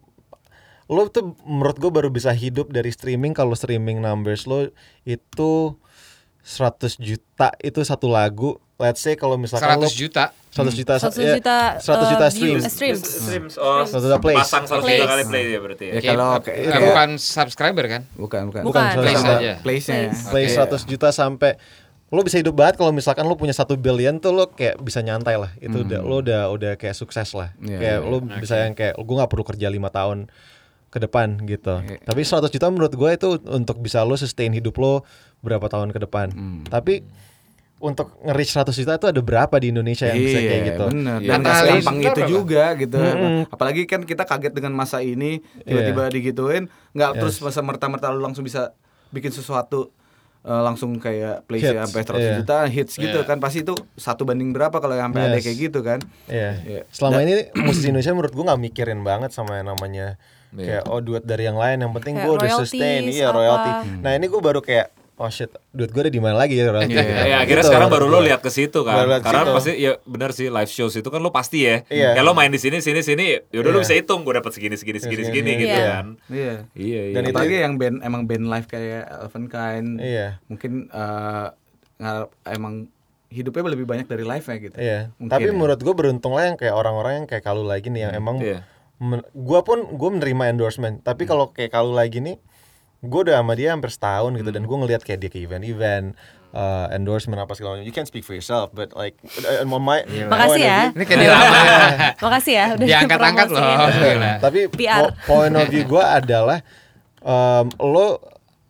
lo tuh menurut gue baru bisa hidup dari streaming kalau streaming numbers lo itu 100 juta itu satu lagu. Let's say kalau misalkan
100
lo
juta
100 juta
100
ya,
juta,
100 juta
eh,
streams.
views, streams.
Streams, oh,
Satu juta plays.
pasang 100 juta
Plays.
kali play ya berarti ya.
Ya kalau
Eh, bukan subscriber kan
bukan bukan
Bukan,
seratus
Plays
juta.
aja.
place-nya.
play
Oke.
100 juta sampai lo bisa hidup banget kalau misalkan lo punya satu billion tuh lo kayak bisa nyantai lah itu udah lo udah udah kayak sukses lah
Hmm. Iya,
kayak
iya,
lo bisa yang kayak gue nggak perlu kerja lima tahun ke depan gitu
Iya.
tapi 100 juta menurut gue itu untuk bisa lo sustain hidup lo berapa tahun ke depan
Hmm.
tapi untuk nge-reach 100 juta itu ada berapa di Indonesia yang bisa kayak gitu
bener.
Iya.
Dan nggak
Analis
segampang
juga
itu
berapa?
juga gitu.
Iya.
Apalagi kan kita kaget dengan masa ini tiba-tiba digituin, nggak terus masa merta-merta lu langsung bisa bikin sesuatu eh, langsung kayak play
Hits,
sampai 100
iya.
juta hits gitu
Iya.
kan pasti itu satu banding berapa kalau yang sampai ada
Yes.
kayak gitu kan.
Iya.
Iya.
Selama ini musisi Indonesia menurut gua nggak mikirin banget sama yang namanya
Iya.
kayak oh duet dari yang lain yang penting
Kayak
gua udah
royalties,
sustain iya
apa.
royalty.
Hmm.
Nah, ini gua baru kayak oh shit, duet gua ada di mana lagi ya royalty.
Ya, ya, akhirnya sekarang baru lo lihat ke situ kan.
Baru lihat ke
Karena
situ.
pasti ya benar sih live shows itu kan lo pasti ya.
Iya.
Ya lo main di sini sini sini, yaudah lo
Iya.
bisa hitung gue dapat segini segini segini segini
Segini,
gitu
iya.
kan.
Iya.
Iya, iya.
Dan itu-
Apalagi yang band emang band live kayak Elephantine.
Iya.
Mungkin eh, ngarap- emang hidupnya lebih banyak dari live-nya gitu.
Iya.
Mungkin
Tapi
ya.
menurut gue beruntung lah yang kayak orang-orang yang kayak Kalu lagi nih yang emang
Iya. Hmm.
men- gua pun gue menerima endorsement. Tapi kalau kayak Kalu lagi nih gue udah sama dia hampir setahun gitu
Hmm.
dan gue ngelihat kayak dia ke event-event uh, endorsement apa segala macam. You can speak for yourself, but like uh, on my
Iya.
Makasih ya.
ini kayak dilama
<laughs> Makasih ya udah
diangkat-angkat loh
dipromosiin.
Iya.
Gila.
Tapi
PR.
po- point of view gue adalah em, lo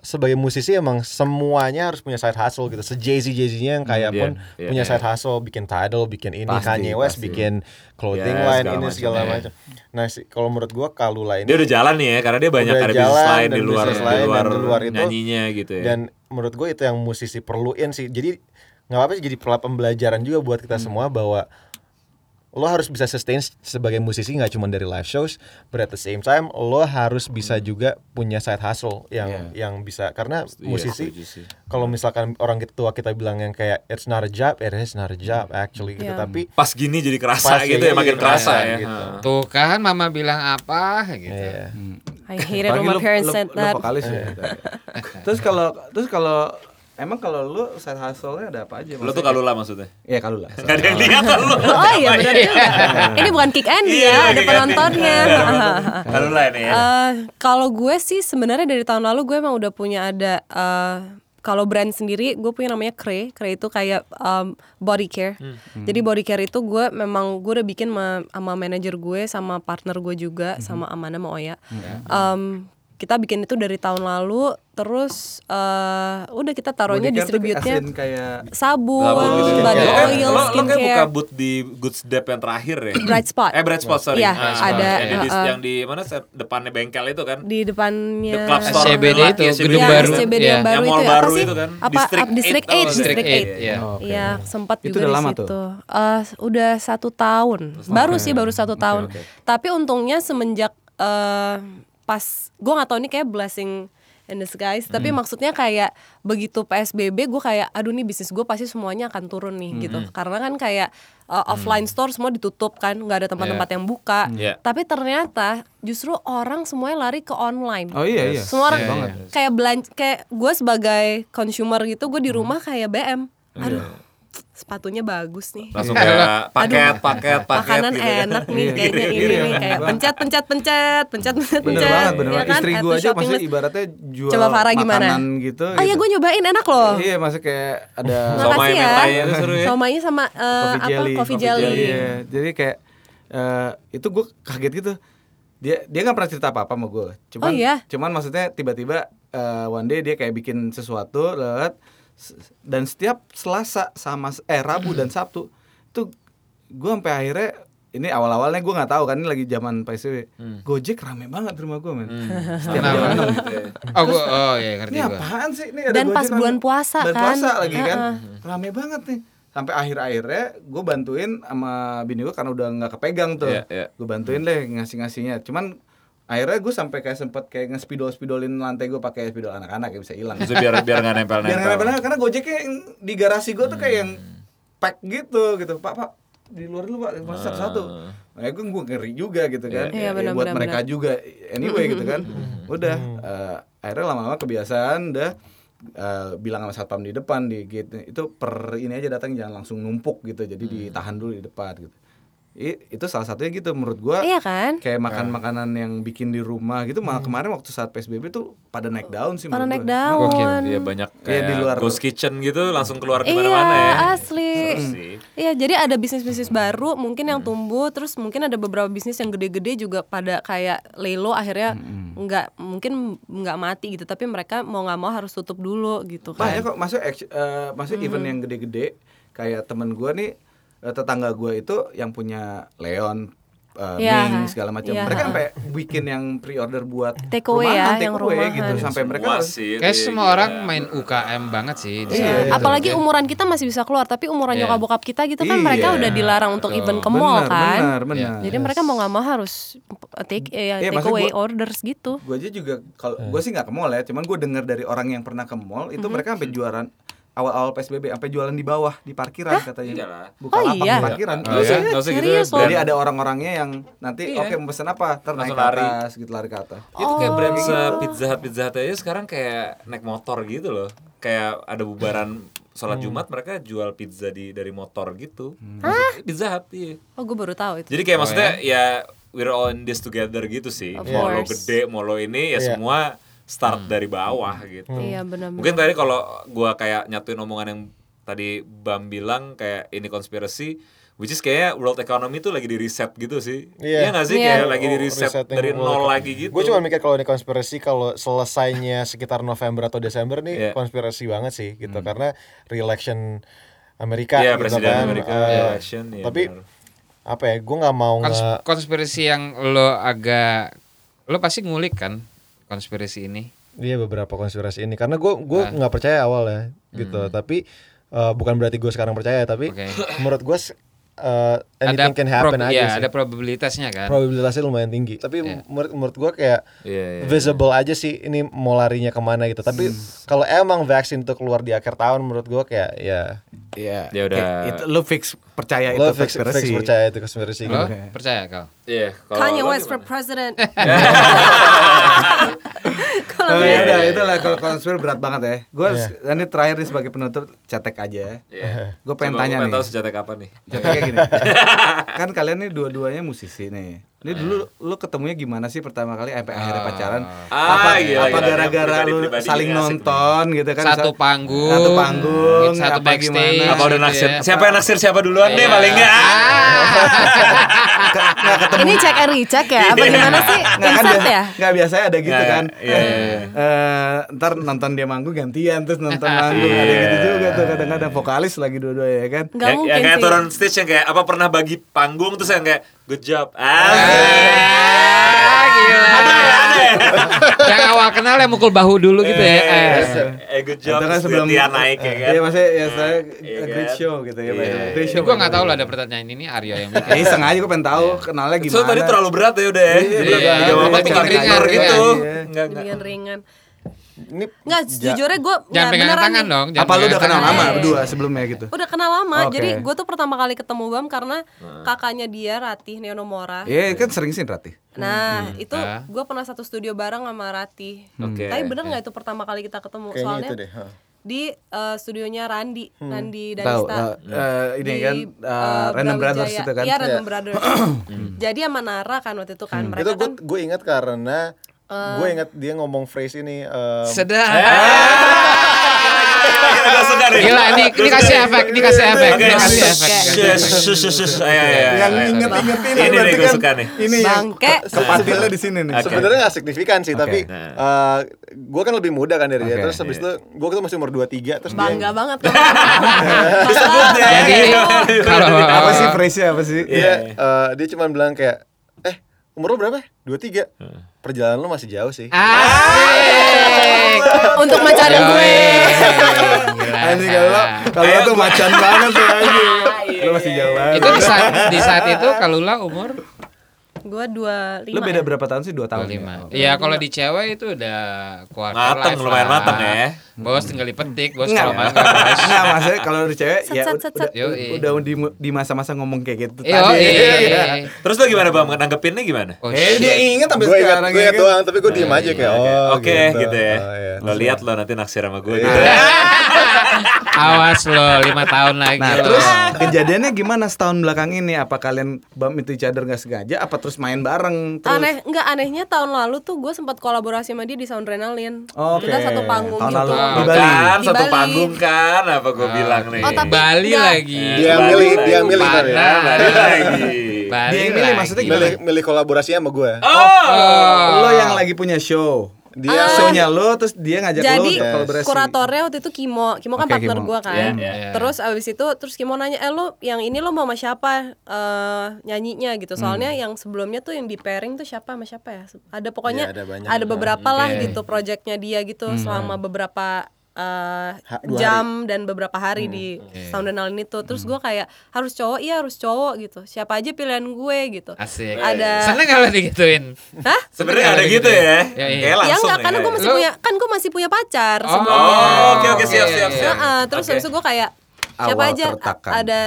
sebagai musisi emang semuanya harus punya side hustle gitu. Se Jay Z nya yang
Iya,
kayak pun
iya,
punya
iya.
side hustle, bikin Tidal, bikin ini
Pasti,
Kanye West,
pasti.
bikin clothing
Ya,
line
segala
ini
macam,
segala
iya.
macam. Nah, si, kalau menurut gue kalau lain
Dia udah jalan nih ya karena dia banyak
Udah
ada bisnis
jalan
lain
dan
di luar
bisnis lain
di
dan
luar,
di luar itu.
nyanyinya gitu ya.
dan menurut gue itu yang musisi perluin sih. Jadi nggak apa-apa sih jadi pel- pembelajaran juga
Hmm.
buat kita semua bahwa lo harus bisa sustain s- sebagai musisi nggak cuma dari live shows, but at the same time lo harus bisa juga punya side hustle yang yang bisa karena
Iya, Hmm.
musisi
setuju sih.
kalau misalkan orang tua kita bilang yang kayak it's not a job, it is not a job actually gitu
Iya.
tapi
Pas gini jadi kerasa
Pas
Hmm. gitu
gini
ya makin
jadi
kerasa
kerasa
ya.
gitu.
Ha.
tuh kan mama bilang apa gitu
Iya.
I hate it when
Apalagi
my
lu-
parents
lu-
said
lu
that.
vokalis ya.
Eh.
<laughs> terus kalau terus kalau emang kalau lu side hustle-nya ada apa aja?
Lo tuh kalau lah maksudnya.
Iya kalau lah.
Gak ada yang lihat lo.
Oh iya benar juga. Ini bukan kick Andy
Iya,
ya, ada
kayak
penontonnya.
gitu. Kalau lah ini ya.
Eh, kalau gue sih sebenarnya dari tahun lalu gue emang udah punya ada eh, kalau brand sendiri gue punya namanya Cray. Cray itu kayak em, body care. Jadi body care itu gue memang gue udah bikin sama, sama manajer gue sama partner gue juga sama Amanda sama Oya. Em, kita bikin itu dari tahun lalu terus eh, udah kita taruhnya distributnya
kan kayak
sabun,
Sabun gitu.
body
Lo kan-
oil,
lo, lo kan buka
skincare.
boot di Good Step yang terakhir ya.
Bright Spot.
Eh Bright Spot sorry.
Iya,
Ah,
ada, Iya.
Yang di,
uh-uh.
yang di mana set- depannya bengkel itu kan.
di
The
depannya
Eh,
Club Store
SCBD
lelaki,
itu,
SCBD.
gedung
ya,
baru.
SCBD
Iya.
yang baru
Yang
itu
mall
ya,
baru
apa sih?
itu kan.
Apa
District
District, District
8,
8,
oh,
District
District 8,
8.
iya.
Oh, oke.
Iya, sempat
Itu
juga
udah
di
lama
situ.
tuh? ya?
Eh, udah satu tahun, baru sih baru satu tahun. Tapi untungnya semenjak eh, pas, gue nggak tahu ini kayak blessing in the skies tapi
Hmm.
maksudnya kayak begitu psbb gue kayak aduh nih bisnis gue pasti semuanya akan turun nih gitu
Hmm.
karena kan kayak uh, offline store semua ditutup kan nggak ada tempat-tempat yang buka
Iya.
tapi ternyata justru orang semuanya lari ke online
Oh iya iya.
semua orang
Iya, banget.
kayak belanja kayak gue sebagai consumer gitu gue di rumah kayak BM
Iya.
aduh sepatunya bagus nih
Langsung kayak paket, paket, paket
<laughs> makanan
gitu kan.
enak nih kayaknya
Iya,
ini
iya,
nih
iya.
kayak pencet pencet pencet pencet pencet
Bener
pencet
banget, bener
ya
banget.
kan?
Istri gue
Add to
aja
shopping
maksudnya
list.
ibaratnya jual
Coba Farah gimana?
makanan gitu.
oh iya
gitu.
gue nyobain enak loh
Iya, maksudnya kayak ada
Somai
Makasih ya.
mentai itu seru ya.
somainya sama eh,
coffee
apa
jelly.
coffee jelly,
Iya, Jadi kayak eh, itu gue kaget gitu. Dia dia nggak pernah cerita apa-apa sama gue. Cuman
Oh, iya?
cuman maksudnya tiba-tiba eh, one day dia kayak bikin sesuatu lelet, s- dan setiap Selasa sama s- eh Rabu dan Sabtu itu gue sampai akhirnya ini awal-awalnya gue nggak tahu kan ini lagi zaman PSBB. Gojek rame banget di rumah gue men. Setiap
Kenapa?
jalan tuh.
Oh, gua, oh iya ngerti
Ini
gua.
apaan sih? Ini ada
Dan
Gojek
pas
rame.
bulan puasa
Dan
kan?
puasa lagi kan.
Heeh.
Rame banget nih. Sampai akhir-akhirnya gue bantuin sama bini gue karena udah nggak kepegang tuh.
Iya, iya.
Gue bantuin deh ngasih-ngasihnya. Cuman akhirnya gue sampai kayak sempet kayak ngespidol-spidolin lantai gue pakai spidol anak-anak ya bisa hilang.
Maksudnya biar biar nggak
Biar
nempel-nempel.
nggak benar karena Gojeknya yang di garasi gue tuh kayak yang
Hmm.
pack gitu gitu. Pak, Pak, di luar dulu Pak, masih satu-satu. Makanya gue gue ngeri juga gitu kan.
Ah. Iya,
Ya,
benar,
buat
benar, Hmm.
mereka juga anyway gitu kan. Udah eh, akhirnya lama-lama kebiasaan udah eh, bilang sama satpam di depan di gate itu per ini aja datang jangan langsung numpuk gitu. Jadi
Hmm.
ditahan dulu di depan gitu. I- itu salah satunya gitu menurut gua
iya kan
kayak makan makanan yang bikin di rumah gitu malah kemarin waktu saat PSBB tuh pada naik daun sih
Para
menurut
Oh. naik
gua.
daun
Gokil,
Dia banyak
Iya,
kayak
di luar.
ghost kitchen gitu langsung keluar
Iya
kemana-mana ya.
asli
Seru sih.
Iya jadi ada bisnis-bisnis baru mungkin yang tumbuh Terus mungkin ada beberapa bisnis yang gede-gede juga pada kayak Lelo akhirnya nggak mungkin nggak mati gitu Tapi mereka mau nggak mau harus tutup dulu gitu
banyak
kan Hmm.
kok masuk eh, masuk event yang gede-gede kayak temen gue nih eh, tetangga gue itu yang punya Leon eh,
Iya.
Ming segala macam
Iya.
mereka sampai bikin yang pre-order buat
Take away ya,
take
yang
away
rumahan.
gitu sampai mereka
Semua
harus-
sih, itu
Kayak
ya,
semua
gila.
orang main UKM banget sih. di
Iya,
sana.
Apalagi umuran kita masih bisa keluar Tapi umuran
Iya.
nyokap bokap kita gitu kan mereka
Iya,
udah dilarang untuk
betul.
event ke mall
Benar,
kan
Iya.
benar benar
Jadi mereka mau nggak mau harus take, eh,
Iya,
take
maksud
away
gua-
orders gitu
gue aja juga kalau gue sih nggak ke mall ya cuman gue dengar dari orang yang pernah ke mall
Mm-hmm.
itu mereka sampai jualan awal-awal psbb sampai jualan di bawah di parkiran katanya
Iyalah.
bukan
Oh,
lapak
iya?
di parkiran
Nggak usah, nggak usah gitu.
Serius,
brand.
Jadi ada orang-orangnya yang nanti
Iya.
oke mau pesen apa, ntar naik
Langsung
ke
lari.
atas gitu lari ke atas.
Itu
Oh,
kayak brand
iya.
se pizza hut pizza hut aja sekarang kayak naik motor gitu loh. Kayak ada bubaran
Hmm.
sholat Jumat mereka jual pizza di dari motor gitu. Maksud- Pizza hut iya.
Oh gue baru tahu itu
Jadi kayak maksudnya ya we're all in this together gitu sih.
Of
Mau lo
course.
gede, mau lo ini ya semua start dari bawah gitu.
Iya benar
Mungkin tadi kalau gua kayak nyatuin omongan yang tadi Bam bilang kayak ini konspirasi which is kayak world economy itu lagi di reset gitu sih. Iya
Iya.
nggak sih
Iya.
kayak lagi di reset dari nol lagi gitu.
Gue cuma mikir kalau ini konspirasi kalau selesainya sekitar November atau
Iya.
Desember
Hmm.
nih konspirasi banget sih gitu karena re-election Amerika
Iya,
gitu
presiden
kan.
Amerika,
Eh,
re-election, iya,
tapi
benar.
apa ya? Gue nggak mau
Kons-
nge-
konspirasi yang lo agak lo pasti ngulik kan konspirasi ini.
Iya beberapa konspirasi ini karena gue gue
Nah.
nggak percaya awal ya gitu tapi eh, bukan berarti gue sekarang percaya tapi
Hmm. Oke.
menurut gue anything can happen
prob-
aja
ya,
sih.
ada probabilitasnya kan.
probabilitasnya lumayan tinggi tapi menurut menurut gue kayak
Iya, iya, Hmm.
visible aja sih ini mau larinya kemana gitu tapi kalau emang vaksin itu keluar di akhir tahun menurut gue kayak ya
Iya.
Ya udah.
Kayak itu lu fix percaya Ya,
lo
itu
fix,
konspirasi.
fix percaya itu konspirasi
lo
gitu.
percaya kau?
Iya, kalau
Kanye
lo
West for
gimana?
president
Oh,
Iya,
ya udah itulah kalau konspir berat banget ya. Gue
Iya.
ini terakhir nih sebagai penutup cetek aja.
Iya.
Gue pengen
Coba,
tanya
gua
nih.
tahu sejatek apa nih.
Ceteknya
<laughs>
gini. kan kalian nih dua-duanya musisi nih. Ini dulu lu ketemunya gimana sih pertama kali sampai akhirnya pacaran?
Iya. Ah,
apa
gila,
apa
gila.
gara-gara lu
Pribadi-pribadi
saling
ini asik
nonton gitu kan?
Satu
Misal-
panggung,
Satu panggung,
satu
apa
backstage.
gimana?
Apa udah
Gitu
naksir?
ya.
Siapa yang naksir siapa duluan deh paling nggak? <laughs>
Ini cek and recheck ya? Apa gimana sih?
Nggak kan
Insert
biasa-
ya?
nggak, biasanya ada gitu
Nggak,
kan.
iya, iya, iya.
Eh, ntar nonton dia manggung gantian terus nonton manggung ada gitu juga tuh kadang-kadang vokalis lagi dua-duanya ya kan.
Ya-
Gak
ya,
mungkin
kayak
sih
turun stage yang kayak apa pernah bagi panggung terus yang kayak good job. Ah,
Ah, gila. yang awal kenal yang mukul bahu dulu gitu
Iya,
ya. Eh.
eh good job.
Atau
Terus dia naik ya kan.
kan Iya maksudnya ya saya
Iya
a great
kan?
show gitu ya.
Iya.
maksudnya. Great
Ini
show.
gue nggak tahu lah ada pertanyaan ini Aryo yang bikin.
Ya iseng aja gue pengen tahu kenalnya gimana.
So tadi terlalu berat ya udah ya.
Iya,
Jadi
berat
nggak
banget.
apa-apa
Iya,
tukar
iya,
ringan
iya,
gitu.
iya.
Enggak enggak.
Dengan ringan
Ini
Nggak,
ja-
jujurnya gue
Jangan pegangan tangan dong. jangan
Apa lu udah
kan?
pegangan
kenal
tangan.
lama
Iya.
berdua sebelumnya gitu?
Udah kenal lama,
Oke.
jadi gue tuh pertama kali ketemu Bam karena kakaknya dia Ratih Neonomora.
Iya kan sering sih Ratih.
Nah, itu
Ah.
gue pernah satu studio bareng sama Ratih.
Oke.
Tapi bener nggak itu pertama kali kita ketemu?
Kayaknya
Soalnya
itu deh. ha.
di eh, studionya Randi, Randi
Tahu
Danista.
eh, eh, ini
Di,
kan eh,
eh,
Random
Brawijaya.
Brothers itu kan.
Iya, Random
<clears throat>
Brothers. Jadi sama Nara kan waktu itu
Hmm.
kan mereka
Itu gue
kan Eh.
gue ingat karena gue ingat dia ngomong phrase ini. em,
Sedap.
Gak Ah, sadar ya?
Gila ini ini kasih efek, ini kasih efek,
Oke,
ini kasih
shh,
efek.
Kayak-
shh, shh, shh, shh, shh. Ayo, ayo,
Yang
ayo.
nginget-ngingetin
Ini nih
berarti
gue
kan.
suka nih.
Ini
ya,
yang
bangke.
eh,
kepatilnya di sini nih.
Oke.
Sebenarnya nggak signifikan sih, tapi
Nah.
eh gue kan lebih muda kan dari dia.
Oke, iya.
Terus habis itu gue tuh masih umur 23 terus dia
Bangga
<laughs>
banget kan. Masalah,
Jadi kalau
Iya.
Apa sih phrase apa sih?
dia eh, dia cuma bilang kayak eh umur lu berapa? 23. Perjalanan lu masih jauh sih.
Ah,
Ah, Asik.
untuk mencari
Iya,
gue.
Anjing kalau kalau
Iya.
tuh macan banget tuh anjing. Lu masih jauh banget.
Itu di saat di saat itu kalau lah umur
Gue 25.
Lu beda berapa tahun sih? Dua tahun. ya?
25. Iya, kalau di cewek itu udah quarter
Mateng,
life
lumayan
lah.
mateng ya.
Bos tinggal dipetik, bos
Enggak,
kalau
enggak,
mangga.
<laughs> enggak maksudnya kalau dari cewek ya
Set, set, set,
udah,
set.
Yoi. Eh,
udah di, di masa-masa ngomong kayak gitu
Yo,
Iya.
Terus lo gimana bang? Nanggepinnya gimana?
Oh,
Eh dia
shit.
inget sampai
Gue ingat
sekarang
gue
ya
ingat
kan?
doang, tapi gue diem aja kayak oh
Iya, Oke gitu ya.
Oh, iya.
Lo lihat lo nanti naksir sama gue. gitu.
Awas lo, lima tahun lagi.
Nah
lo.
terus kejadiannya gimana setahun belakang ini? Apa kalian bam itu each other nggak sengaja? Apa terus main bareng? Terus?
Aneh, nggak anehnya tahun lalu tuh gue sempat kolaborasi sama dia di Soundrenalin.
Oke.
Kita satu panggung
Tahun
gitu.
lalu di
Tuh
Bali.
Kan
Di
satu
Bali.
panggung kan apa gue bilang nih.
Oh, tapi
Bali
enggak.
lagi.
Dia
Bali
milih,
lagi.
dia milih kali ya.
Nah, Bali lagi.
Bali
Dia yang milih,
lagi.
maksudnya gimana?
Milih, milih kolaborasinya sama Oh, gue.
Oh.
Lo yang lagi punya show.
Dia
Shownya lo terus dia ngajak lo
Ah. Jadi
untuk kolaborasi.
kuratornya waktu itu Kimo, Kimo kan
Oke,
partner
Kimo.
gue kan.
Iya,
iya.
Terus abis itu terus Kimo nanya, eh lo yang ini lo mau sama siapa eh, nyanyinya gitu. Soalnya yang sebelumnya tuh yang di pairing tuh siapa sama siapa ya? Ada pokoknya
Iya, ada banyak.
beberapa lah
Oke.
gitu projectnya dia gitu selama beberapa eh,
Ha- dua
jam dan beberapa hari di Sound and All ini tuh. Terus gue kayak harus cowok, iya harus cowok gitu. Siapa aja pilihan gue gitu.
Asik.
Ada-
Sana nggak lo digituin?
Hah?
Sebenarnya ada gitu ya.
Iya,
Kayak
Ya
langsung
enggak, karena gue masih
Lo-
punya kan gue masih punya pacar sebelumnya.
Oh oke oke siap siap siap.
Heeh, terus habis itu gue kayak siapa
Awal
aja
keretakan.
ada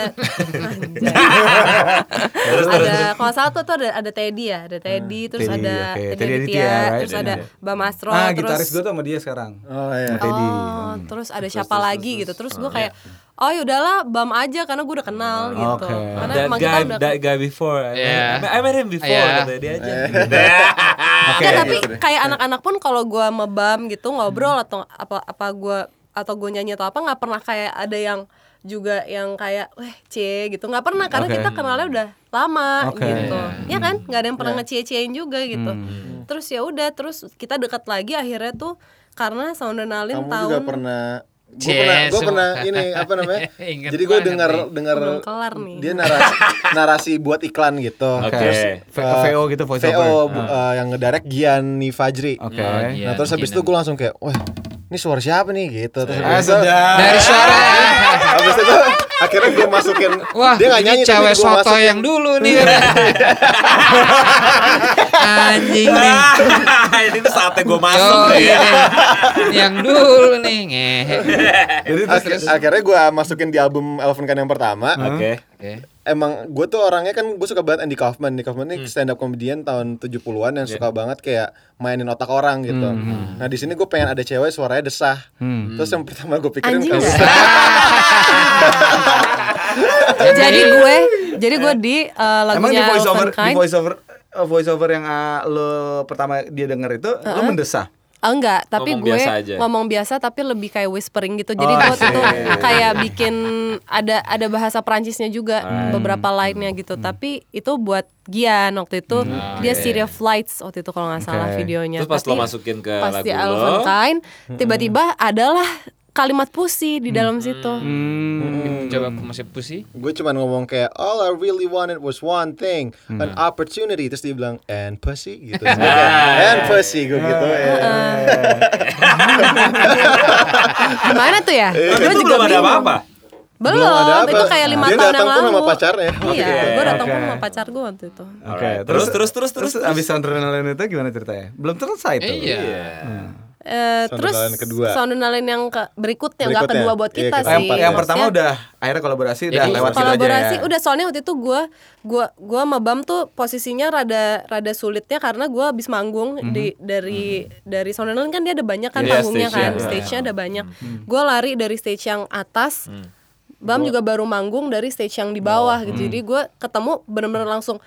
Terus, terus. Hmm.
ada kalau nggak salah tuh, tuh ada ada Teddy ya ada Teddy terus
Teddy,
ada
oke.
Teddy,
Teddy
Aditya,
Aditya, right?
terus
Teddy
ada
Aditya.
Bam Astro
Ah
terus
gitaris Hmm. gue tuh sama dia sekarang.
Oh iya.
Teddy.
oh terus ada siapa lagi gitu terus gue kayak oh yaudahlah Bam aja karena gue udah kenal gitu
Oke.
karena
That
emang kita
guy,
udah Iya.
that guy before. I
Yeah.
met- I met him before.
Yeah.
Katanya dia aja. Nah.
Nggak,
gitu
tapi kayak anak-anak pun kalau gue mebam gitu ngobrol atau apa apa gue atau gue nyanyi atau apa nggak pernah kayak ada yang juga yang kayak weh c gitu nggak pernah karena
Oke.
kita kenalnya udah lama
Oke. Iya.
gitu ya kan nggak ada yang pernah ngecie-ciein juga gitu
Hmm.
terus ya udah terus kita dekat lagi akhirnya tuh karena Soundernalin
Kamu
tahun
juga pernah Gue
Cie,
pernah, gue
semua.
pernah ini apa namanya?
Ingat
Jadi gue
banget
dengar
nih.
dengar
Belum kelar nih.
dia narasi narasi buat iklan gitu.
Oke.
Terus, V-
Eh,
VO gitu voice
VO
over.
bu- eh, yang ngedirect Gianni Fajri.
Oke.
Oh,
Nah
iya,
terus habis itu
mungkin.
gue langsung kayak, wah ini suara siapa nih gitu. Terus
Ah
habis itu,
sudah.
Dari suara.
habis itu akhirnya gue masukin.
Wah,
dia nggak
ini
nyanyi
cewek
tapi gue
soto
masukin.
yang dulu nih. Anjing nih.
<laughs> Ini tuh saatnya gue masuk
Yo,
nih ya.
yang dulu nih ngehe.
Jadi terus
Akhir- akhirnya gue masukin di album Elven Kan yang pertama.
Oke.
Oke.
emang gue tuh orangnya kan gue suka banget Andy Kaufman Andy Kaufman ini stand up comedian tahun 70-an yang suka banget kayak mainin otak orang gitu nah di sini gue pengen ada cewek suaranya desah terus yang pertama gue pikirin
Anjing
kalau-
nggak? <laughs> jadi gue jadi gue di uh,
Eh. Emang di
lagunya
voice over, di
Elvenkind-
voice over, eh, voice over yang ah, lo pertama dia denger itu, lo mendesah.
Ah, enggak, tapi
Ngomong
gue
biasa aja. Iya,
ngomong biasa tapi lebih kayak whispering gitu.
Oh,
Jadi gue tuh tuh
asik.
kayak bikin ada ada bahasa Perancisnya
Ah,
juga
iya.
beberapa line-nya
Hmm.
gitu. Tapi itu buat Gian waktu itu
iya,
dia City of Lights waktu itu kalau nggak salah
Oke.
videonya.
Terus pas
Tapi
lo masukin ke
pas
lagu lo.
di
Hmm.
Elvenkind, tiba-tiba adalah kalimat puisi di dalam situ.
Hmm.
Hmm.
Coba aku masih pusi.
gue cuman ngomong kayak all I really wanted was one thing an opportunity terus dia bilang and pussy gitu Terus gua kayak, and pussy gue gitu ya.
Gimana tuh ya?
Iya. Tapi
Gue
itu belum ada
bingung.
apa-apa.
Belum,
Belum ada apa.
itu kayak lima
Dia
tahun
datang
yang
pun
lalu.
sama pacarnya.
Iya, gue datang pun
Oke.
sama pacar gue waktu itu.
Oke,
Alright. Terus, terus, terus, terus, Iya.
abis adrenalin itu gimana ceritanya? Belum selesai tuh.
Iya.
Eh,
Sound
terus
Donalan kedua.
sound Donalan yang ke- berikutnya nggak
Berikutnya.
kedua buat
Iya,
kita
keempat
sih.
yang, yang pertama
Maksudnya-
udah akhirnya kolaborasi udah lewat
Jadi
situ aja ya.
kolaborasi udah soalnya waktu itu gue gua gua sama Bam tuh posisinya rada rada sulitnya karena gue habis manggung di dari dari Sonolan kan dia ada banyak kan
Iya,
panggungnya
stage-nya,
kan
iya.
stage-nya ada banyak gue lari dari stage yang atas Bam juga baru manggung dari stage yang di bawah gitu jadi gue ketemu bener-bener langsung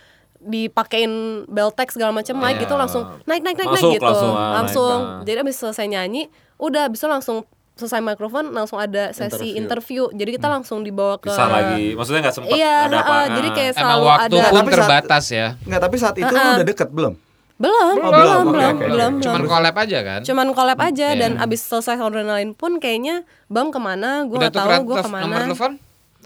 dipakein beltex segala macam mic gitu langsung naik naik naik
Masuk
naik gitu
langsung, ah, naik,
langsung
ah.
jadi abis selesai nyanyi udah abis itu langsung selesai mikrofon langsung ada sesi interview, jadi kita langsung dibawa ke
Pisah lagi. Maksudnya nggak sempat
Iya,
ada
heeh,
apa.
jadi kayak
Emang
selalu
waktu
ada Iya.
Nah,
pun
tapi saat-
terbatas ya.
Enggak, tapi saat itu lu udah deket belum?
belum,
Oh, belum,
belum,
oke,
belum,
oke, oke.
belum,
Cuman
belum.
collab aja kan.
Cuman collab aja
Iya.
dan abis selesai sound and lain pun kayaknya Bam kemana, gue
Udah
nggak tahu
tukeran
gue
telef- nomor
kemana.
telepon?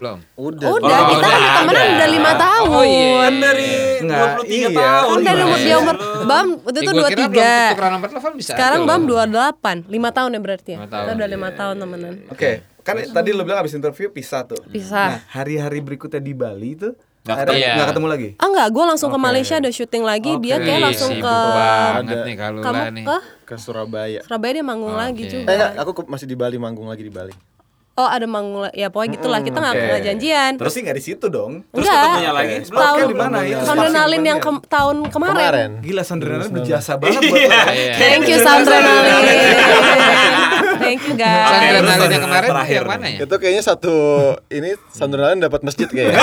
Belum.
Udah.
Udah,
Oh,
kita
udah
udah temenan
ada.
udah lima tahun.
Oh, iya.
Kan dari
Nggak,
23
iya.
tahun.
Kan dari umur dia umur Bam waktu
Ya,
itu
gua
dua
kira
tiga.
belum Tukeran nomor telepon bisa.
Sekarang
aja
Bam
loh.
dua delapan, lima tahun ya berarti ya.
Lima tahun, iya.
Kita udah lima tahun temenan.
Oke, kan tadi lu bilang abis interview pisah tuh.
Pisah.
Nah, hari-hari berikutnya di Bali tuh
Nggak
akhirnya
ketemu.
nggak ketemu lagi.
Ah enggak, gue langsung ke Malaysia ada syuting lagi, dia
Oke.
kayak
Ih,
langsung
sibuk
ke
banget nih kalau
kamu
nih.
ke
Ke Surabaya.
Surabaya dia manggung
Oke.
lagi juga.
Eh, enggak, aku ke- masih di Bali manggung lagi di Bali.
Oh ada manggung, la- ya pokoknya gitulah kita nggak
oke.
pernah janjian.
Terus sih nggak di situ dong.
Hmm, Terus
Enggak.
ketemunya lagi.
Oke.
Belum.
Tahun
Oke, di mana itu?
Soundrenalin yang ke- tahun kemarin.
Kemarin.
Gila Sandrina berjasa banget buat lu.
Iya.
Thank you Soundrenalin. Thank you guys.
Oke,
Sandra
terus
Nalin
Sandra
yang kemarin
terakhir
yang mana ya?
Iya.
Itu kayaknya satu ini Sandralan dapat masjid
<laughs>
kayaknya.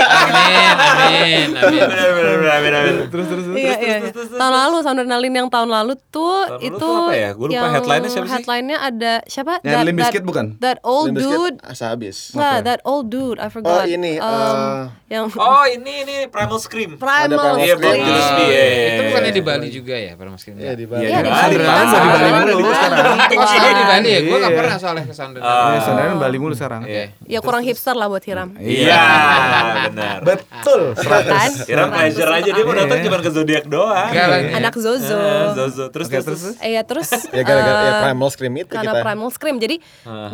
Amin, amin, amin.
Bener, bener, bener, bener, bener.
Terus terus. terus.
Iya, iya, iya. Tahun lalu Soundrenalin yang tahun lalu tuh
Tahun lalu
itu
tuh apa ya? Gua lupa
yang
headline-nya siapa sih?
headline-nya ada siapa?
Yang Limp Bizkit bukan?
That old
Limp Bizkit,
Oh, dude.
asa habis.
Iya,
Nah, that old dude, I
Oh,
forgot.
ini,
Um,
eh,
yang
Oh ini ini Primal Scream.
ada Primal
Primal
Iya, Bob
Scream.
Gillespie.
Oh,
iya, iya,
Itu
iya.
bukannya di Bali juga ya, Pak Mas
Iya di
Krim?
Bali.
Iya, di
di Iya,
Bali.
Soundrenalin
Pak.
mau di Bali
Ah,
mulu
Bali.
sekarang.
Oh, Sandra di Bali ya? Gue nggak
Iya.
pernah soalnya ke Sandra.
Iya, Sandrina Bali mulu sekarang.
Oh, Iya.
Ya kurang hipster lah buat Hiram.
Iya benar.
Betul.
Kan?
Kira pleasure aja dia mau datang
Iya.
cuma ke zodiak doang.
Enggak lah.
Anak
Eh,
Zozo.
Zozo. Terus
Oke,
terus. terus.
terus.
Iya terus
Ya gara-gara ya
eh,
Primal Scream itu
karena
kita.
Primal Scream jadi